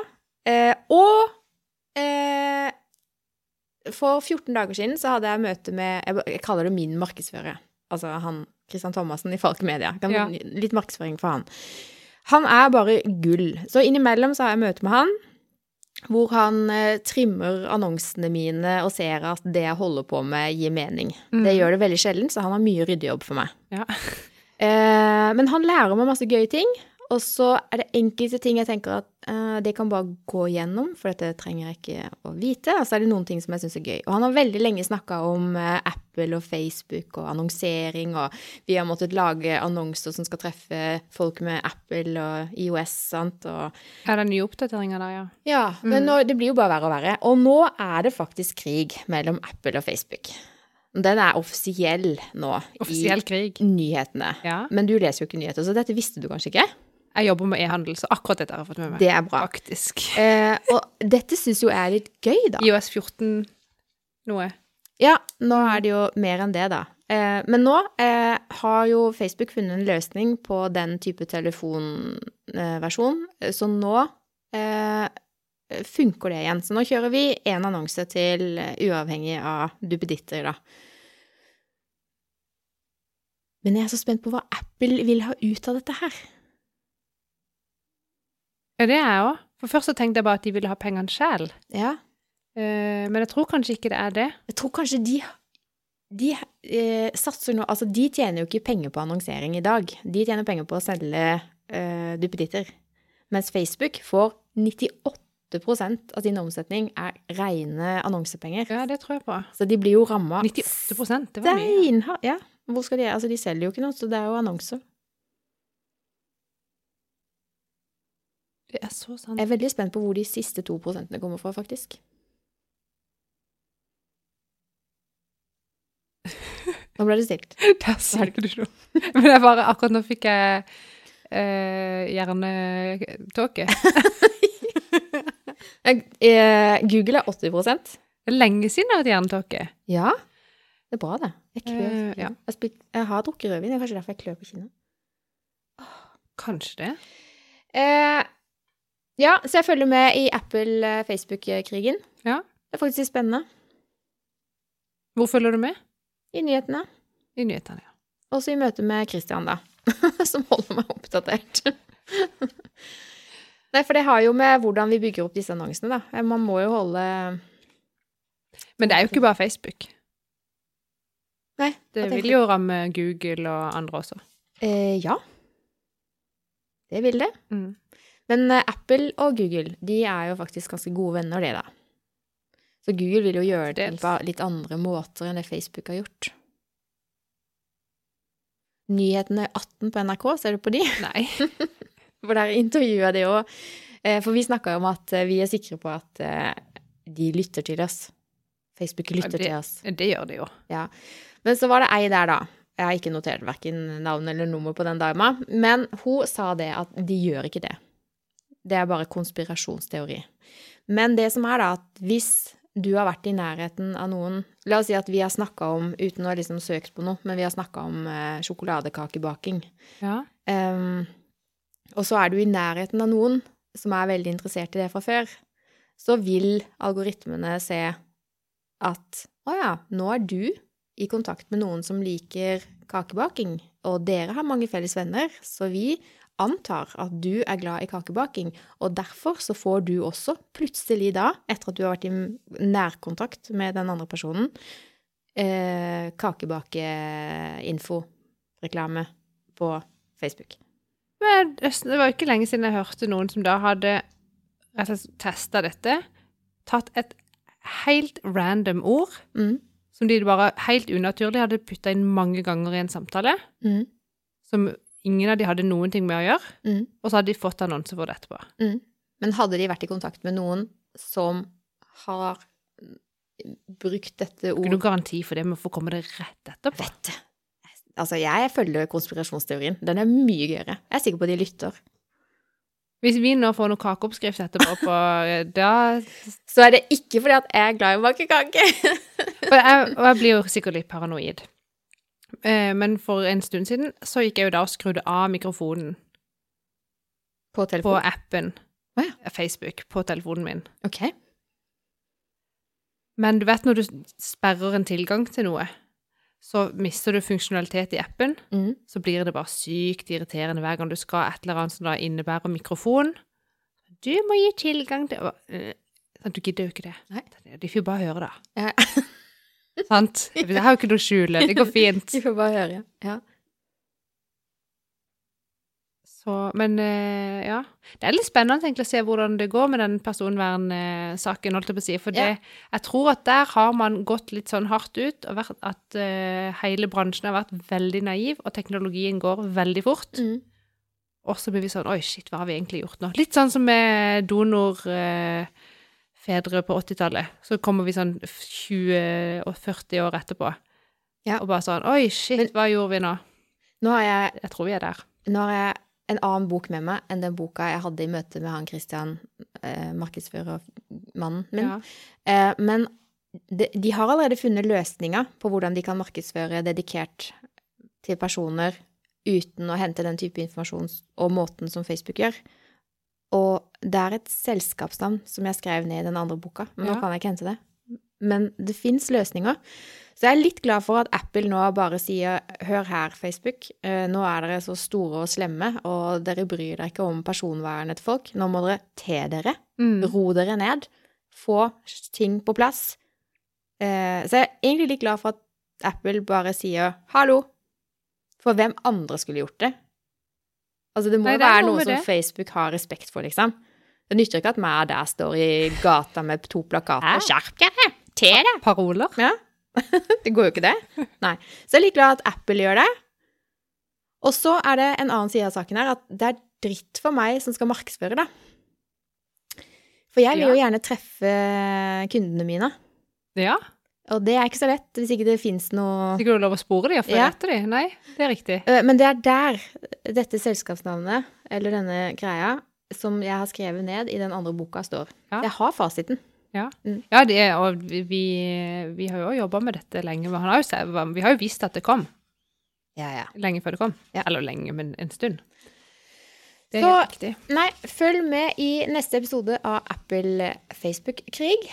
A: Eh, og eh, for 14 dager siden så hadde jeg møte med Jeg, jeg kaller det min markedsfører. Altså han Christian Thomassen i Falk Media. Kan,
B: Ja.
A: Litt markedsføring for han. Han er bare gull. Så innimellom så har jeg møte med han. Hvor han eh, trimmer annonsene mine og ser at det jeg holder på med, gir mening. Det gjør det veldig sjelden, så han har mye ryddejobb for meg.
B: Ja.
A: Eh, men han lærer meg masse gøye ting. Og så er det enkelte ting jeg tenker at eh, det kan bare gå gjennom, for dette trenger jeg ikke å vite. Og så er det noen ting som jeg syns er gøy. Og han har veldig lenge snakka om eh, Apple og Facebook og annonsering, og vi har måttet lage annonser som skal treffe folk med Apple og IOS, sant, og
B: Er det nye oppdateringer der, ja?
A: ja, men nå, det blir jo bare verre og verre. Og nå er det faktisk krig mellom Apple og Facebook. Den er offisiell nå
B: Offisiell krig.
A: i nyhetene.
B: Ja.
A: Men du leser jo ikke nyheter, så dette visste du kanskje ikke?
B: Jeg jobber med e-handel, så akkurat dette har jeg fått med meg.
A: Det er bra.
B: Faktisk.
A: Eh, og dette syns jo jeg er litt gøy, da.
B: IOS 14 noe.
A: Ja, nå er det jo mer enn det, da. Eh, men nå eh, har jo Facebook funnet en løsning på den type telefonversjon, så nå eh, funker det igjen. Så nå kjører vi én annonse til eh, uavhengig av duppeditter, da. Men jeg er så spent på hva Apple vil ha ut av dette her.
B: Ja, det er jeg òg. For først så tenkte jeg bare at de ville ha pengene sjøl.
A: Ja.
B: Men jeg tror kanskje ikke det er det.
A: Jeg tror kanskje de de eh, satser nå Altså, de tjener jo ikke penger på annonsering i dag. De tjener penger på å selge eh, duppeditter. Mens Facebook får 98 av sin omsetning er rene annonsepenger.
B: Ja, det tror jeg på.
A: Så de blir jo ramma
B: 98 det var mye.
A: steinhardt. Ja. Hvor skal de Altså, de selger jo ikke noe, så det er jo annonser.
B: Det er så sant.
A: Jeg er veldig spent på hvor de siste to prosentene kommer fra, faktisk. Nå ble det stilt.
B: Der sier du noe. Men jeg bare, akkurat nå fikk jeg eh, hjernetåke.
A: Eh, Google er 80
B: Det er lenge siden jeg har hatt hjernetåke.
A: Ja. Det er bra, det. Jeg klør. på
B: Eh,
A: kinnet.
B: ja.
A: jeg, har spilt- jeg har drukket rødvin. Det er kanskje derfor jeg klør på kinnet.
B: Kanskje det.
A: Eh, ja, så jeg følger med i Apple-Facebook-krigen.
B: Ja.
A: Det er faktisk litt spennende
B: Hvor følger du med?
A: i nyhetene.
B: I nyhetene, ja.
A: Også i møte med Christian, da. Som holder meg oppdatert. Nei, for det har jo med hvordan vi bygger opp disse annonsene, da. Eh, Man må jo holde
B: Men det er jo ikke bare Facebook.
A: Nei,
B: Det
A: hva tenker
B: vil jo ramme Google og andre også.
A: eh, Ja. Det vil det. Men eh, Apple og Google de er jo faktisk ganske gode venner, de, da. Så Google vil jo gjøre det
B: Dels.
A: på litt andre måter enn det Facebook har gjort. Nyhetene 18 på NRK, ser du på de?
B: Nei.
A: For der intervjuer de òg. For vi snakker jo om at eh, vi er sikre på at eh, de lytter til oss. Facebook lytter
B: det-
A: til oss.
B: Det gjør det jo.
A: Ja. Men så var det ei der, da. Jeg har ikke notert verken navn eller nummer på den dama. Men hun sa det at de gjør ikke det. Det er bare konspirasjonsteori. Men det som er, da, at hvis du har vært i nærheten av noen La oss si at vi har snakka om, uten å ha liksom søkt på noe, men vi har snakka om eh, sjokoladekakebaking.
B: Ja.
A: Ehm, og så er du i nærheten av noen som er veldig interessert i det fra før, så vil algoritmene se at å ja, nå er du i kontakt med noen som liker kakebaking, og dere har mange felles venner, så vi antar at du er glad i kakebaking, og derfor så får du også plutselig da, etter at du har vært i nærkontakt med den andre personen, eh, kakebakeinfo-reklame på Facebook.
B: Men det var ikke lenge siden jeg hørte noen som da hadde testa dette, tatt et helt random ord
A: Mm.
B: som de bare helt unaturlig hadde putta inn mange ganger i en samtale,
A: Mm.
B: som ingen av de hadde noen ting med å gjøre,
A: Mm.
B: og så hadde de fått annonse for det etterpå.
A: Mm. Men hadde de vært i kontakt med noen som har brukt dette
B: Ikke noen
A: ordet
B: garanti for det, men får komme det rett etterpå.
A: Vet du. Altså, jeg følger konspirasjonsteorien. Den er mye gøyere. Jeg er sikker på de lytter.
B: Hvis vi nå får noen kakeoppskrift etterpå på eh, da,
A: Så er det ikke fordi at jeg er glad i å bake kake.
B: og jeg, og jeg blir jo sikkert litt paranoid. Eh, Men for en stund siden så gikk jeg jo da og skrudde av mikrofonen
A: På
B: på
A: telefon.
B: appen
A: Å ja.
B: Facebook på telefonen min.
A: Ok.
B: Men du vet når du sperrer en tilgang til noe, så mister du funksjonalitet i appen,
A: Mm.
B: så blir det bare sykt irriterende hver gang du skal et eller annet som da innebærer mikrofon. Du må gi tilgang til og, øh, sant, Du gidder jo ikke det.
A: Nei.
B: De får jo bare høre det.
A: Ja.
B: Sant? Jeg har jo ikke noe å skjule. Det går fint.
A: Vi får bare høre. Ja.
B: Så, men eh, ja. Det er litt spennende egentlig, å se hvordan det går med den personvernsaken, holdt jeg på å si. For det,
A: Ja.
B: jeg tror at der har man gått litt sånn hardt ut, og vært at eh, hele bransjen har vært veldig naiv, og teknologien går veldig fort.
A: Mm.
B: Og så blir vi sånn Oi, shit, hva har vi egentlig gjort nå? Litt sånn som med donorfedre på 80-tallet. Så kommer vi sånn 20 og 40 år etterpå.
A: Ja.
B: Og bare sånn Oi, shit,
A: Men-
B: hva gjorde vi nå?
A: Nå har jeg
B: Jeg tror vi er der.
A: Nå har jeg en annen bok med meg enn den boka jeg hadde i møte med han Christian, eh, markedsførermannen min.
B: Ja.
A: Eh, men de, de har allerede funnet løsninger på hvordan de kan markedsføre dedikert til personer uten å hente den type informasjon s- og måten som Facebook gjør. Og det er et selskapsnavn som jeg skrev ned i den andre boka, men nå
B: Ja.
A: kan jeg ikke hente det. Men det fins løsninger. Så jeg er litt glad for at Apple nå bare sier hør her, Facebook, eh, nå er dere så store og slemme, og dere bryr dere ikke om personvernet til folk. Nå må dere te dere.
B: Mm.
A: Ro dere ned. Få ting på plass. Eh, så jeg er egentlig litt glad for at Apple bare sier 'hallo'. For hvem andre skulle gjort det? Altså, det må
B: Nei,
A: jo
B: det er
A: være
B: noe
A: noe
B: med
A: som
B: det.
A: Facebook har respekt for, liksom. Det nytter ikke at meg der står i gata med to plakater.
B: Hæ?
A: Skjerp dere! Te dere!
B: Paroler?
A: Ja. det går jo ikke, det. Nei. Så jeg er litt glad at Apple gjør det. Og så er det en annen side av saken her, at det er dritt for meg som skal markedsføre, da. For jeg vil jo gjerne treffe kundene mine,
B: Ja.
A: og det er ikke så lett hvis ikke det fins noe
B: Ikke du lov å spore dem og følge
A: Ja.
B: etter dem? Nei, det er riktig.
A: Eh, Men det er der dette selskapsnavnet, eller denne greia, som jeg har skrevet ned i den andre boka, står.
B: Ja.
A: Jeg har fasiten.
B: Ja, det er, og vi, vi- vi har jo jobba med dette lenge. Men han har jo, se- vi har jo visst at det kom,
A: Ja, ja.
B: lenge før det kom.
A: Ja.
B: Eller lenge, men en stund. Det er
A: Så-
B: helt riktig.
A: Nei, følg med i neste episode av Apple Facebook-krig.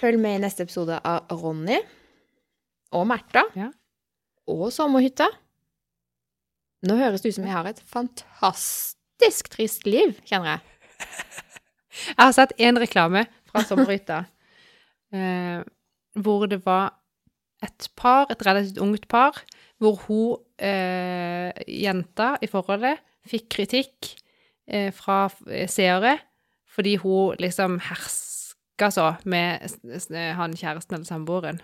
A: Følg med i neste episode av Ronny og Märtha
B: Ja.
A: og Sommerhytta. Nå høres det ut som jeg har et fantastisk trist liv, kjenner jeg.
B: Jeg har sett én reklame fra Sommerhytta eh, hvor det var et par, et relativt ungt par, hvor hun, eh, jenta i forholdet, fikk kritikk eh, fra f- eh, seere fordi hun liksom herska så med s- s- han kjæresten eller samboeren.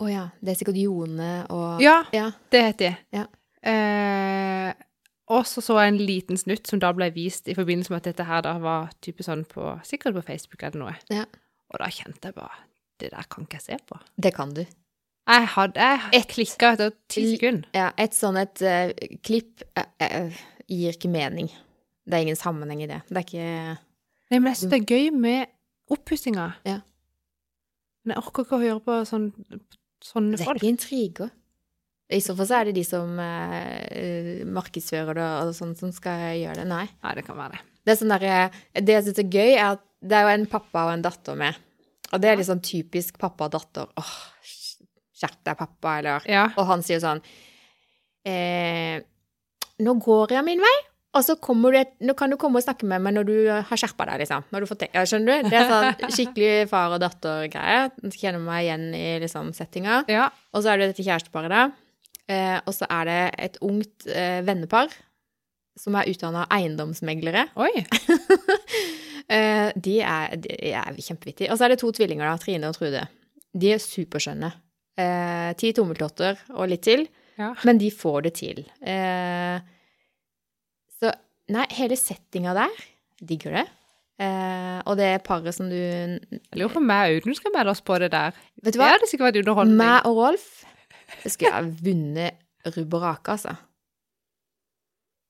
A: Å ja. Det er sikkert Jone og
B: Ja,
A: Ja.
B: det het de.
A: Ja.
B: Eh, og så så jeg en liten snutt som da ble vist i forbindelse med at dette her da var type sånn på, sikkert på Facebook eller noe.
A: Ja.
B: Og da kjente jeg bare Det der kan ikke jeg se på.
A: Det kan du.
B: Jeg hadde Jeg
A: Et-
B: klikka etter ti
A: L-
B: sekunder.
A: Ja, et sånn et eh, klipp eh, eh, gir ikke mening. Det er ingen sammenheng i det. Det er ikke
B: Nei, men jeg syns det er gøy med oppussinga.
A: Ja.
B: Men jeg orker ikke å høre på sånn, sånne
A: Det er
B: folk.
A: ikke intriger. I så fall så er det de som eh, eh, markedsfører det og sånn, som skal gjøre det. Nei.
B: Nei, det kan være det.
A: Det, er sånn der, eh, det jeg syns er gøy, er at det er jo en pappa og en datter med. Og det er liksom typisk pappa og datter. Åh, skjerp deg, pappa, eller
B: Ja.
A: Og han sier sånn eh, Nå går jeg min vei, og så kommer du et, nå kan du komme og snakke med meg når du har skjerpa deg, liksom. Når du får te ja, skjønner du? Det er sånn skikkelig far og datter-greie. Kjenner meg igjen i liksom, settinga.
B: ja.
A: Og så er det dette kjæresteparet, da. Eh, og så er det et ungt eh, vennepar som er utdanna eiendomsmeglere.
B: Oi.
A: Eh, de, er, de er kjempevittige. Og så er det to tvillinger, da, Trine og Trude. De er superskjønne. Eh, ti tommeltotter og litt til,
B: Ja.
A: men de får det til. Eh, så nei, hele settinga der digger det. Eh, og det paret som du Vet
B: Jeg lurer på om jeg og Audun skal melde oss på det der.
A: du
B: Det
A: hva?
B: hadde sikkert vært underholdning.
A: Meg og Rolf jeg skulle jeg ha vunnet rubb og rake, altså.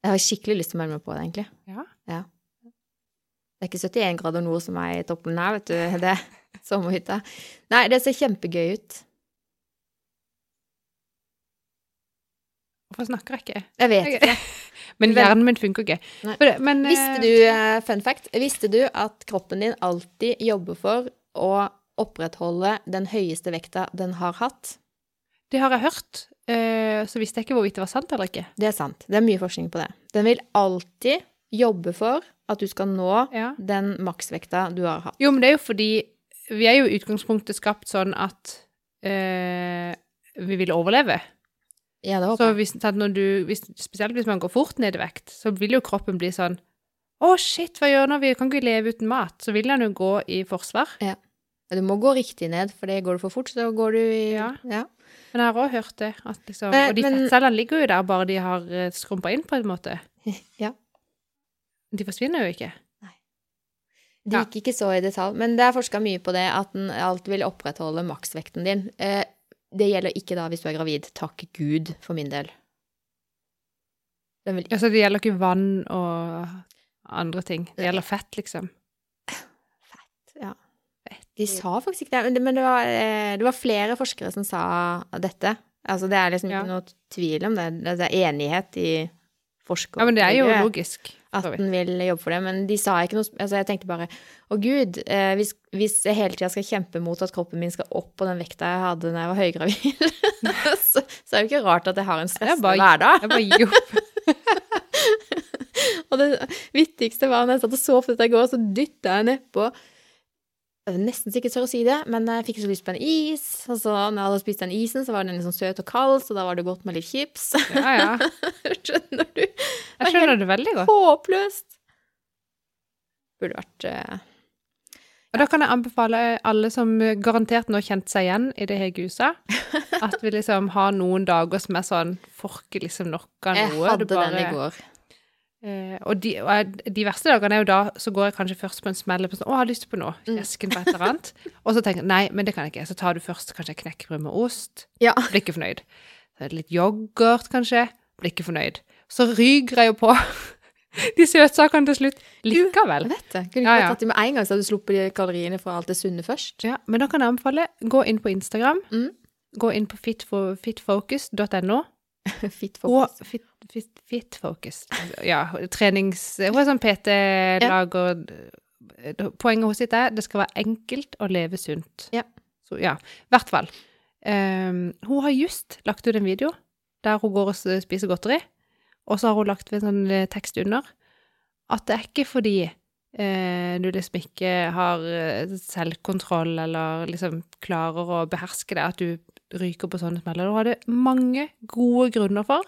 A: Jeg har skikkelig lyst til å melde meg på det, egentlig.
B: Ja.
A: Det er ikke 71 grader nord som er i toppen her, vet du. Det er sommerhytta. Nei, det ser kjempegøy ut.
B: Hvorfor snakker jeg ikke?
A: Jeg vet ikke.
B: Men hjernen min funker ikke.
A: Nei.
B: For det- Men,
A: Visste
B: eh,
A: du, eh, fun fact, visste du at kroppen din alltid jobber for å opprettholde den høyeste vekta den har hatt?
B: Det har jeg hørt. eh, Så visste jeg ikke hvorvidt det var sant eller ikke.
A: Det er sant. Det er mye forskning på det. Den vil alltid jobbe for at du skal nå
B: Ja.
A: den maksvekta du har hatt.
B: Jo, men det er jo fordi vi er jo i utgangspunktet skapt sånn at eh, vi vil overleve.
A: Ja, det
B: Så
A: håper jeg.
B: hvis, sant, når du, hvis, spesielt hvis man går fort ned i vekt, så vil jo kroppen bli sånn Å, shit, hva gjør jeg nå? Vi kan ikke leve uten mat. Så vil den jo gå i forsvar.
A: Du må gå riktig ned, for det går du for fort, så går du i
B: Ja.
A: ja.
B: Men jeg har òg hørt det. At liksom,
A: Men-
B: og de
A: men-
B: fettcellene ligger jo der, bare de har skrumpa inn, på en måte.
A: Ja.
B: De forsvinner jo ikke.
A: Det
B: Ja.
A: gikk ikke så i detalj, men det er forska mye på det, at en alt vil opprettholde maksvekten din. Eh, det gjelder ikke da hvis du er gravid. Takk Gud, for min del. Den vil,
B: Ja, så Altså, det gjelder ikke vann og andre ting. Det gjelder fett, liksom.
A: de sa faktisk ikke det, men det, men det, var, eh, det var flere forskere som sa dette. Altså, det er liksom
B: Ja.
A: ikke noe tvil om det. Det er enighet i forskere.
B: Ja, men det er jo
A: Miljøet.
B: logisk.
A: at
B: for så vidt.
A: den vil jobbe for det, men de sa ikke noe sp- altså Jeg tenkte bare å gud, eh, hvis, hvis jeg hele tida skal kjempe mot at kroppen min skal opp på den vekta jeg hadde da jeg var høygravid, så, så er det jo ikke rart at jeg har en
B: Det er
A: stressende
B: bare-
A: hverdag.
B: Jeg bare gir opp.
A: Og det vittigste var når jeg satt og sov på dette i går, så dytta jeg nedpå Jeg var nesten sikkert tør å si det, men jeg fikk så lyst på en is. Og så når jeg hadde spist den isen, så var den liksom søt og kald, så da var det godt med litt chips.
B: Ja, ja.
A: Skjønner du?
B: Jeg skjønner det veldig godt.
A: Håpløst! Burde vært eh,
B: Og da kan jeg anbefale alle som garantert nå kjente seg igjen i det Hege sa, at vi liksom har noen dager som er sånn Får ikke liksom nok av noe.
A: Jeg hadde
B: du bare-
A: den i går.
B: Eh, og de, og jeg, de verste dagene er jo da så går jeg kanskje først på en smell på sånn, å, jeg har lyst på noe, kjesken på et eller annet. og så tenker jeg nei, men det kan jeg ikke. Så tar du først kanskje knekkebrød med ost.
A: Ja.
B: Blir ikke fornøyd. Så er det litt yoghurt, kanskje. Blir ikke fornøyd. Så ryker jeg jo på de søtsakene til slutt likevel.
A: Jeg vet det. Kunne ikke
B: Ja, ja.
A: bare tatt det med en gang, så hadde du sluppet de kaloriene fra alt det sunne først.
B: Ja, men da kan jeg anbefale gå inn på Instagram.
A: Mm.
B: Gå inn på fitfo- fitfocus.no.
A: Fit
B: Og
A: for
B: fit, fit, fit focus. Ja, trenings... Hun er sånn PT-lag, og eh, poenget hennes sitt er det skal være enkelt å leve sunt.
A: Ja.
B: Så, ja, i hvert fall. Ehm, hun har just lagt ut en video der hun går og s- spiser godteri, og så har hun lagt ved en sånn eh, tekst under at det er ikke fordi eh, du liksom ikke har eh, selvkontroll eller liksom klarer å beherske det, at du ryker på sånne smeller. Hun hadde mange gode grunner for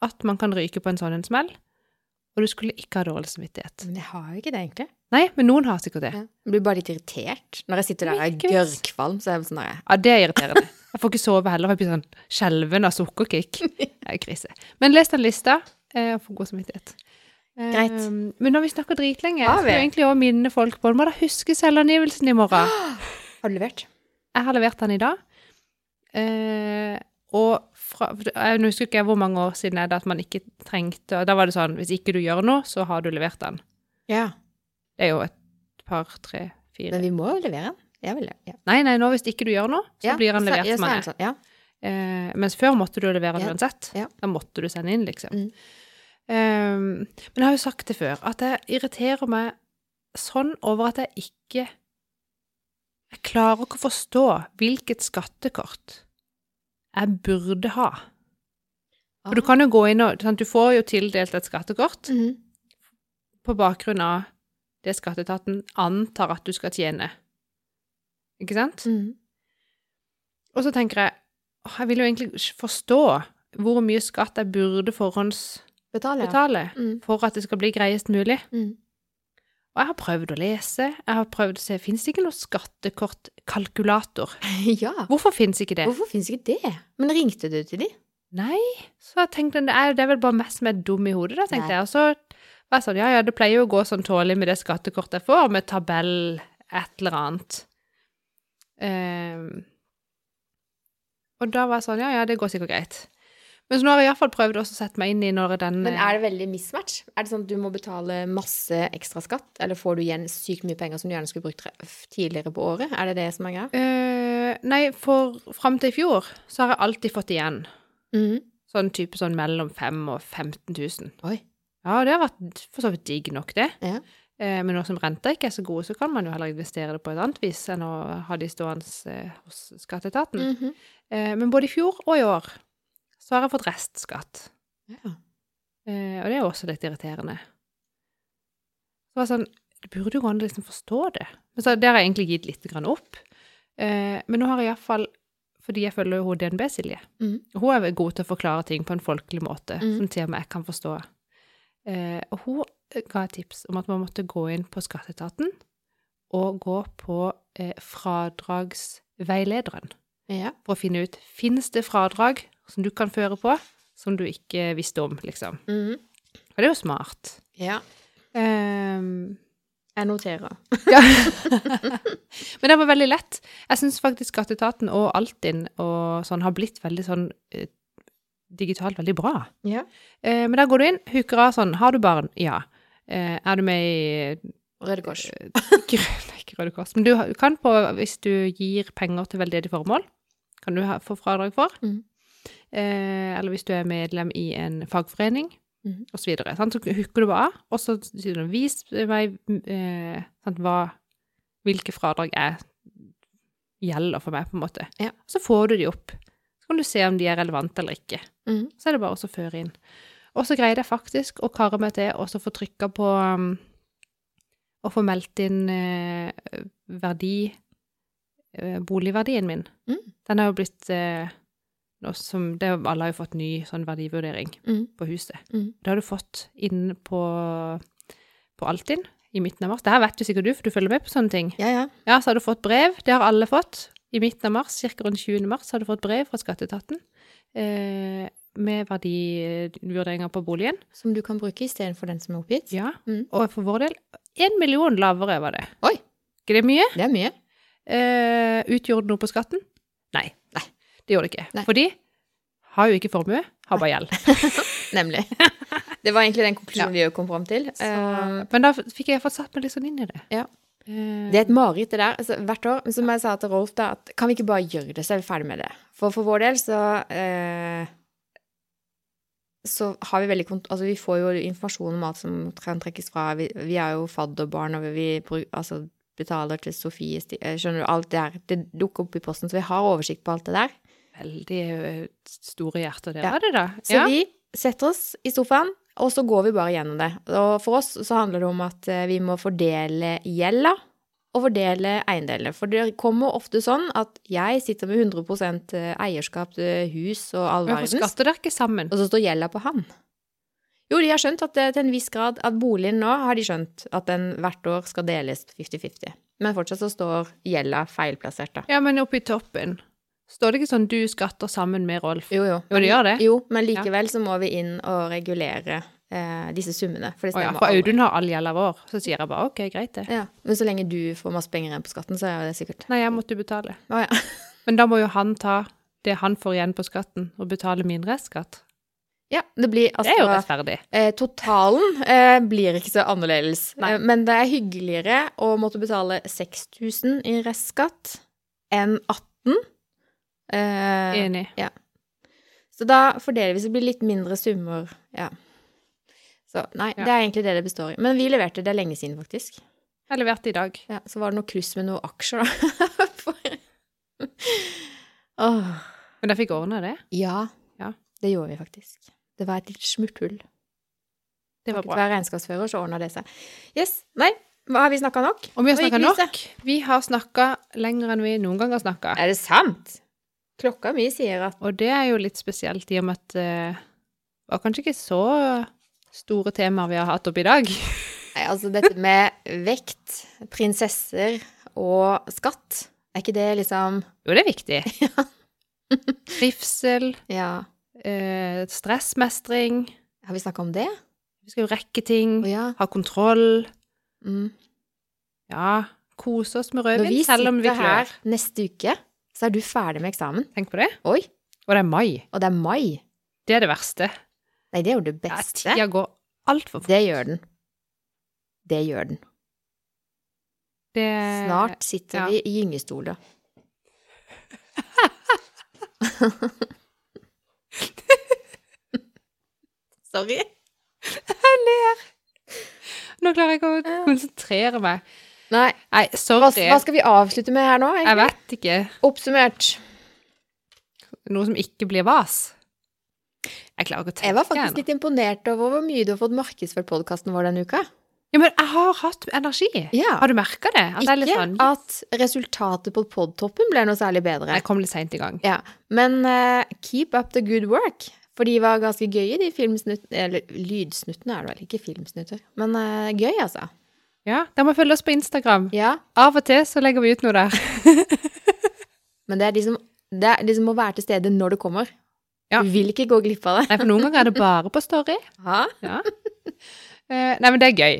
B: at man kan ryke på en sånn en smell, og du skulle ikke ha dårlig samvittighet.
A: Men jeg har jo ikke det, egentlig.
B: Nei, men noen har sikkert det.
A: Ja. Jeg blir bare litt irritert når jeg sitter der og er
B: Ikke minst.
A: gørrkvalm. Så er jeg sånn der,
B: Ja, det er irriterende. Jeg får ikke sove heller, for jeg blir sånn skjelven av sukkerkick. Det er krise. Men les den lista, eh, og få god samvittighet. Eh,
A: Greit.
B: Men når vi snakker dritlenge,
A: Har
B: så vil jeg
A: vi?
B: egentlig også minne folk på, må da huske selvangivelsen i morgen.
A: Har du levert?
B: Jeg har levert den i dag. Eh, og fra, for jeg husker ikke hvor mange år siden er det at man ikke trengte Da var det sånn hvis ikke du gjør noe, så har du levert den.
A: Ja.
B: Det er jo et par, tre, fire
A: Men vi må jo levere den. Jeg vil, ja.
B: Nei, nei, nå hvis ikke du gjør noe, så
A: Ja,
B: blir den
A: så-
B: levert
A: ja,
B: som
A: så er den
B: den er.
A: sånn, ja.
B: Eh, mens før måtte du levere den
A: Ja.
B: uansett.
A: Ja.
B: Da måtte du sende inn, liksom.
A: Mm.
B: Eh, men jeg har jo sagt det før, at jeg irriterer meg sånn over at jeg ikke Jeg klarer ikke å forstå hvilket skattekort jeg burde ha. For du kan jo gå inn og sant, Du får jo tildelt et skattekort
A: Mhm.
B: på bakgrunn av det skatteetaten antar at du skal tjene. Ikke sant?
A: Mhm.
B: Og så tenker jeg «Åh, jeg vil jo egentlig ikke forstå hvor mye skatt jeg burde forhåndsbetale
A: Betaler. Mm.
B: for at det skal bli greiest mulig.
A: Mm.
B: Og jeg har prøvd å lese, jeg har prøvd å se Fins det ikke noe skattekortkalkulator?
A: ja.
B: Hvorfor fins ikke det?
A: Hvorfor fins ikke det? Men ringte du til de?
B: Nei, så jeg tenkte det er, det er vel bare meg som er dum i hodet, da, tenkte
A: Nei.
B: jeg. Og så var jeg sånn, ja ja, det pleier jo å gå sånn tålelig med det skattekortet jeg får, med tabell et eller annet. Ehm, og da var jeg sånn, ja ja, det går sikkert greit. Men så nå har jeg iallfall prøvd også å sette meg inn i når den
A: Men er det veldig mismatch? Er det sånn at du må betale masse ekstra skatt, eller får du igjen sykt mye penger som du gjerne skulle brukt tre- f- tidligere på året? Er det det som er greia?
B: Eh, Nei, for fram til i fjor så har jeg alltid fått igjen
A: Mhm.
B: sånn type sånn mellom 5 og 15 000.
A: Oi.
B: Ja, det har vært for så vidt digg nok, det.
A: Ja.
B: Eh, Men nå som renta ikke er så gode, så kan man jo heller investere det på et annet vis enn å ha de stående eh, hos skatteetaten.
A: Mhm.
B: Eh, Men både i fjor og i år så har jeg fått restskatt.
A: ja.
B: Eh, Og det er jo også litt irriterende. Så var det sånn, det burde jo gå an å liksom forstå det. Men så der har jeg egentlig gitt litt grann opp. Eh, Men nå har jeg iallfall, fordi jeg følger jo hun DNB, Silje,
A: Mhm.
B: og hun er vel god til å forklare ting på en folkelig måte,
A: Mm.
B: som til og med jeg kan forstå. Eh, Og hun ga et tips om at man måtte gå inn på skatteetaten og gå på eh, fradragsveilederen
A: ja.
B: for å finne ut finnes det fradrag som du kan føre på, som du ikke visste om, liksom.
A: Mhm.
B: Og det er jo smart.
A: ja.
B: Ehm,
A: Jeg noterer.
B: ja. Men det var veldig lett. Jeg syns faktisk Skatteetaten og Altinn og sånn har blitt veldig sånn eh, digitalt veldig bra.
A: Ja.
B: Eh, men der går du inn, hooker av sånn Har du barn? Ja. Eh, er du med i
A: Røde Kors.
B: Grønne, Eh, ikke Røde Kors. Men du har- kan på, hvis du gir penger til veldedige formål, kan du ha, få fradrag for.
A: Mhm.
B: Eh, eller hvis du er medlem i en fagforening,
A: Mhm.
B: og så videre. Sant? Så hooker du bare av, og så sier du 'vis meg eh, sant, hva, hvilke fradrag jeg gjelder for meg', på en måte.
A: Ja.
B: Så får du de opp. Så kan du se om de er relevante eller ikke.
A: Mhm.
B: Så er det bare å så føre inn. Og så greide jeg faktisk å kare meg til å så få trykka på um, Å få meldt inn eh, verdi eh, Boligverdien min.
A: Mm.
B: Den er jo blitt eh, nå som, det, er jo- Alle har jo fått ny sånn verdivurdering
A: Mhm.
B: på huset.
A: Mm.
B: Det har du fått inn på, på Altinn i midten av mars. Det her vet jo sikkert du, for du følger med på sånne ting.
A: Ja, ja.
B: Ja, så har du fått brev. Det har alle fått. I midten av mars, ca. rundt 20. mars, har du fått brev fra Skatteetaten eh, med verdivurderinger på boligen.
A: Som du kan bruke istedenfor den som er oppgitt?
B: Ja.
A: Mm.
B: Og for vår del, én million lavere var det.
A: Oi.
B: Ikke det mye?
A: Det er mye.
B: Eh, utgjorde det noe på skatten? Nei.
A: Nei.
B: Det gjorde det ikke.
A: Nei.
B: For de har jo ikke formue, har bare gjeld.
A: Nemlig. Det var egentlig den konklusjonen vi jo kom fram til.
B: Så,
A: Eh,
B: men da fikk jeg fått satt meg litt sånn inn i det.
A: Ja.
B: Eh,
A: Det er et mareritt, det der. Altså, hvert år. Men som jeg sa til Rolf, da, at kan vi ikke bare gjøre det, så er vi ferdig med det? For for vår del så eh, så har vi veldig kont Altså, vi får jo informasjon om alt som kan trekkes fra. Vi, vi er jo fadderbarn, og vi, vi bru- altså, betaler til Sofie Sti- eh, Skjønner du, alt det der. Det dukker opp i posten, så vi har oversikt på alt det der.
B: Veldig eh, store hjerter, det
A: Ja.
B: var det, da.
A: Så vi setter oss i sofaen, og så går vi bare gjennom det. Og for oss så handler det om at eh, vi må fordele gjelda og fordele eiendelene. For det kommer ofte sånn at jeg sitter med 100 eierskap til hus og all
B: Men Hvorfor
A: verdens,
B: skatter dere ikke sammen?
A: og så står gjelda på han. Jo, de har skjønt at eh, til en viss grad at boligen nå har de skjønt at den hvert år skal deles 50-50. Men fortsatt så står gjelda feilplassert, da.
B: Ja, men oppe i toppen står det ikke sånn 'du skatter sammen med Rolf'?
A: Jo, jo.
B: Jo, det gjør det.
A: Jo, men likevel så må vi inn og regulere eh, disse summene. For det
B: Å ja,
A: stemmer.
B: for
A: aldri.
B: Audun har all gjelda vår. Så sier jeg bare 'OK, greit, det'.
A: Ja, Men så lenge du får masse penger igjen på skatten, så er jo det sikkert
B: Nei, jeg måtte betale.
A: Å ja.
B: Men da må jo han ta det han får igjen på skatten, og betale min restskatt.
A: ja. Det blir
B: Det er jo
A: altså
B: rettferdig.
A: eh, Totalen eh, blir ikke så annerledes.
B: Nei.
A: Eh, men det er hyggeligere å måtte betale 6000 i restskatt enn 18 eh,
B: Enig.
A: Så da fordeler vi så det blir litt mindre summer. Ja. Så nei,
B: Ja.
A: det er egentlig det det består i. Men vi leverte det lenge siden, faktisk.
B: Jeg leverte i dag.
A: Ja, så var det noe kluss med noen aksjer, da. For... Åh,
B: Men jeg fikk ordna det.
A: ja,
B: Ja.
A: det gjorde vi faktisk. Det var et litt smutthull.
B: Det var
A: Takket
B: bra.
A: være regnskapsfører, så ordna det seg. Yes, nei, hva har vi snakka nok?
B: Og vi har
A: Nå gikk
B: snakka
A: lyset.
B: nok. Vi har snakka lenger enn vi noen gang har snakka.
A: Er det sant? Klokka mi sier at
B: Og det er jo litt spesielt i og med at eh, det var kanskje ikke så store temaer vi har hatt opp i dag.
A: Nei, altså dette med vekt, prinsesser og skatt, er ikke det liksom
B: Jo, det er viktig. Trivsel,
A: Ja,
B: eh, stressmestring,
A: har vi snakka om det?
B: vi skal jo rekke
A: Å
B: ting,
A: ja.
B: ha kontroll,
A: Mm.
B: ja, kose oss med
A: Når vi
B: rødvin, selv om vi
A: sitter
B: klør.
A: her neste uke, så er du ferdig med eksamen.
B: Tenk på det.
A: Oi,
B: Og det er mai.
A: og det er mai.
B: Det er det verste.
A: Nei, det er jo det
B: Ja,
A: beste.
B: tida går altfor fort.
A: Det gjør den. Det gjør den.
B: Det-
A: Snart sitter
B: Eh, ja.
A: vi i gyngestoler. Sorry.
B: Nå klarer jeg ikke å konsentrere meg.
A: Nei,
B: Nei,
A: hva,
B: sorry.
A: hva skal vi avslutte med her nå?
B: Jeg
A: egentlig?
B: vet ikke.
A: Oppsummert.
B: Noe som ikke blir vas. Jeg klarer ikke å tenke.
A: Jeg var
B: jeg nå.
A: faktisk litt imponert over hvor mye du har fått markedsført podkasten vår denne uka.
B: Ja, men jeg har hatt energi.
A: Ja.
B: Har du merka det? At jeg er litt
A: Ikke
B: sånn
A: at resultatet på podtoppen ble noe særlig bedre.
B: Jeg kom litt seint i gang.
A: Ja, men eh, keep up the good work. For de var ganske gøye, de filmsnuttene. Eller lydsnuttene er det vel, ikke filmsnutter. Men eh, gøy, altså.
B: Ja, Da må følge oss på Instagram.
A: Ja,
B: Av og til så legger vi ut noe der.
A: men det er de som, det er de som må være til stede når det kommer.
B: Ja.
A: Du vil ikke gå glipp av det.
B: Nei, for noen ganger er det bare på Story.
A: Ja.
B: Ja. Eh, nei, men det er gøy.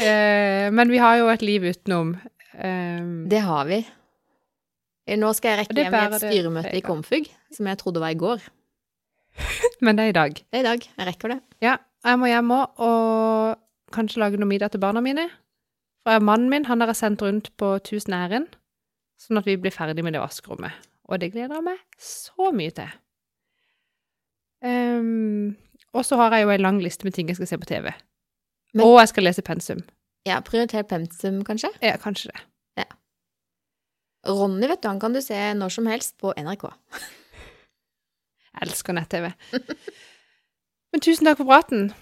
B: Eh, men vi har jo et liv utenom. Eh,
A: Det har vi. Eh, Nå skal jeg
B: Og
A: rekke
B: det
A: hjem i et
B: bærer det
A: styremøte
B: preg
A: i
B: av.
A: Komfug, som jeg trodde var i går.
B: men det er i dag.
A: Det er i dag. Jeg rekker det.
B: Ja, jeg må hjem òg og kanskje lage noe middag til barna mine. For mannen min han har jeg sendt rundt på tusen ærend, sånn at vi blir ferdig med det vaskerommet. Og det gleder jeg meg så mye til. Ehm, og så har jeg jo en lang liste med ting jeg skal se på TV.
A: Men-
B: og jeg skal lese pensum.
A: Ja, prioriter pensum, kanskje.
B: Ja, kanskje det.
A: Ronny, vet du, han kan du se når som helst på NRK.
B: Jeg elsker nett-TV. Men tusen takk for praten.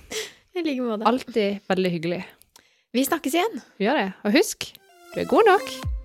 A: I like måte.
B: Alltid veldig hyggelig.
A: Vi snakkes igjen.
B: Vi gjør det. Og husk, du er god nok.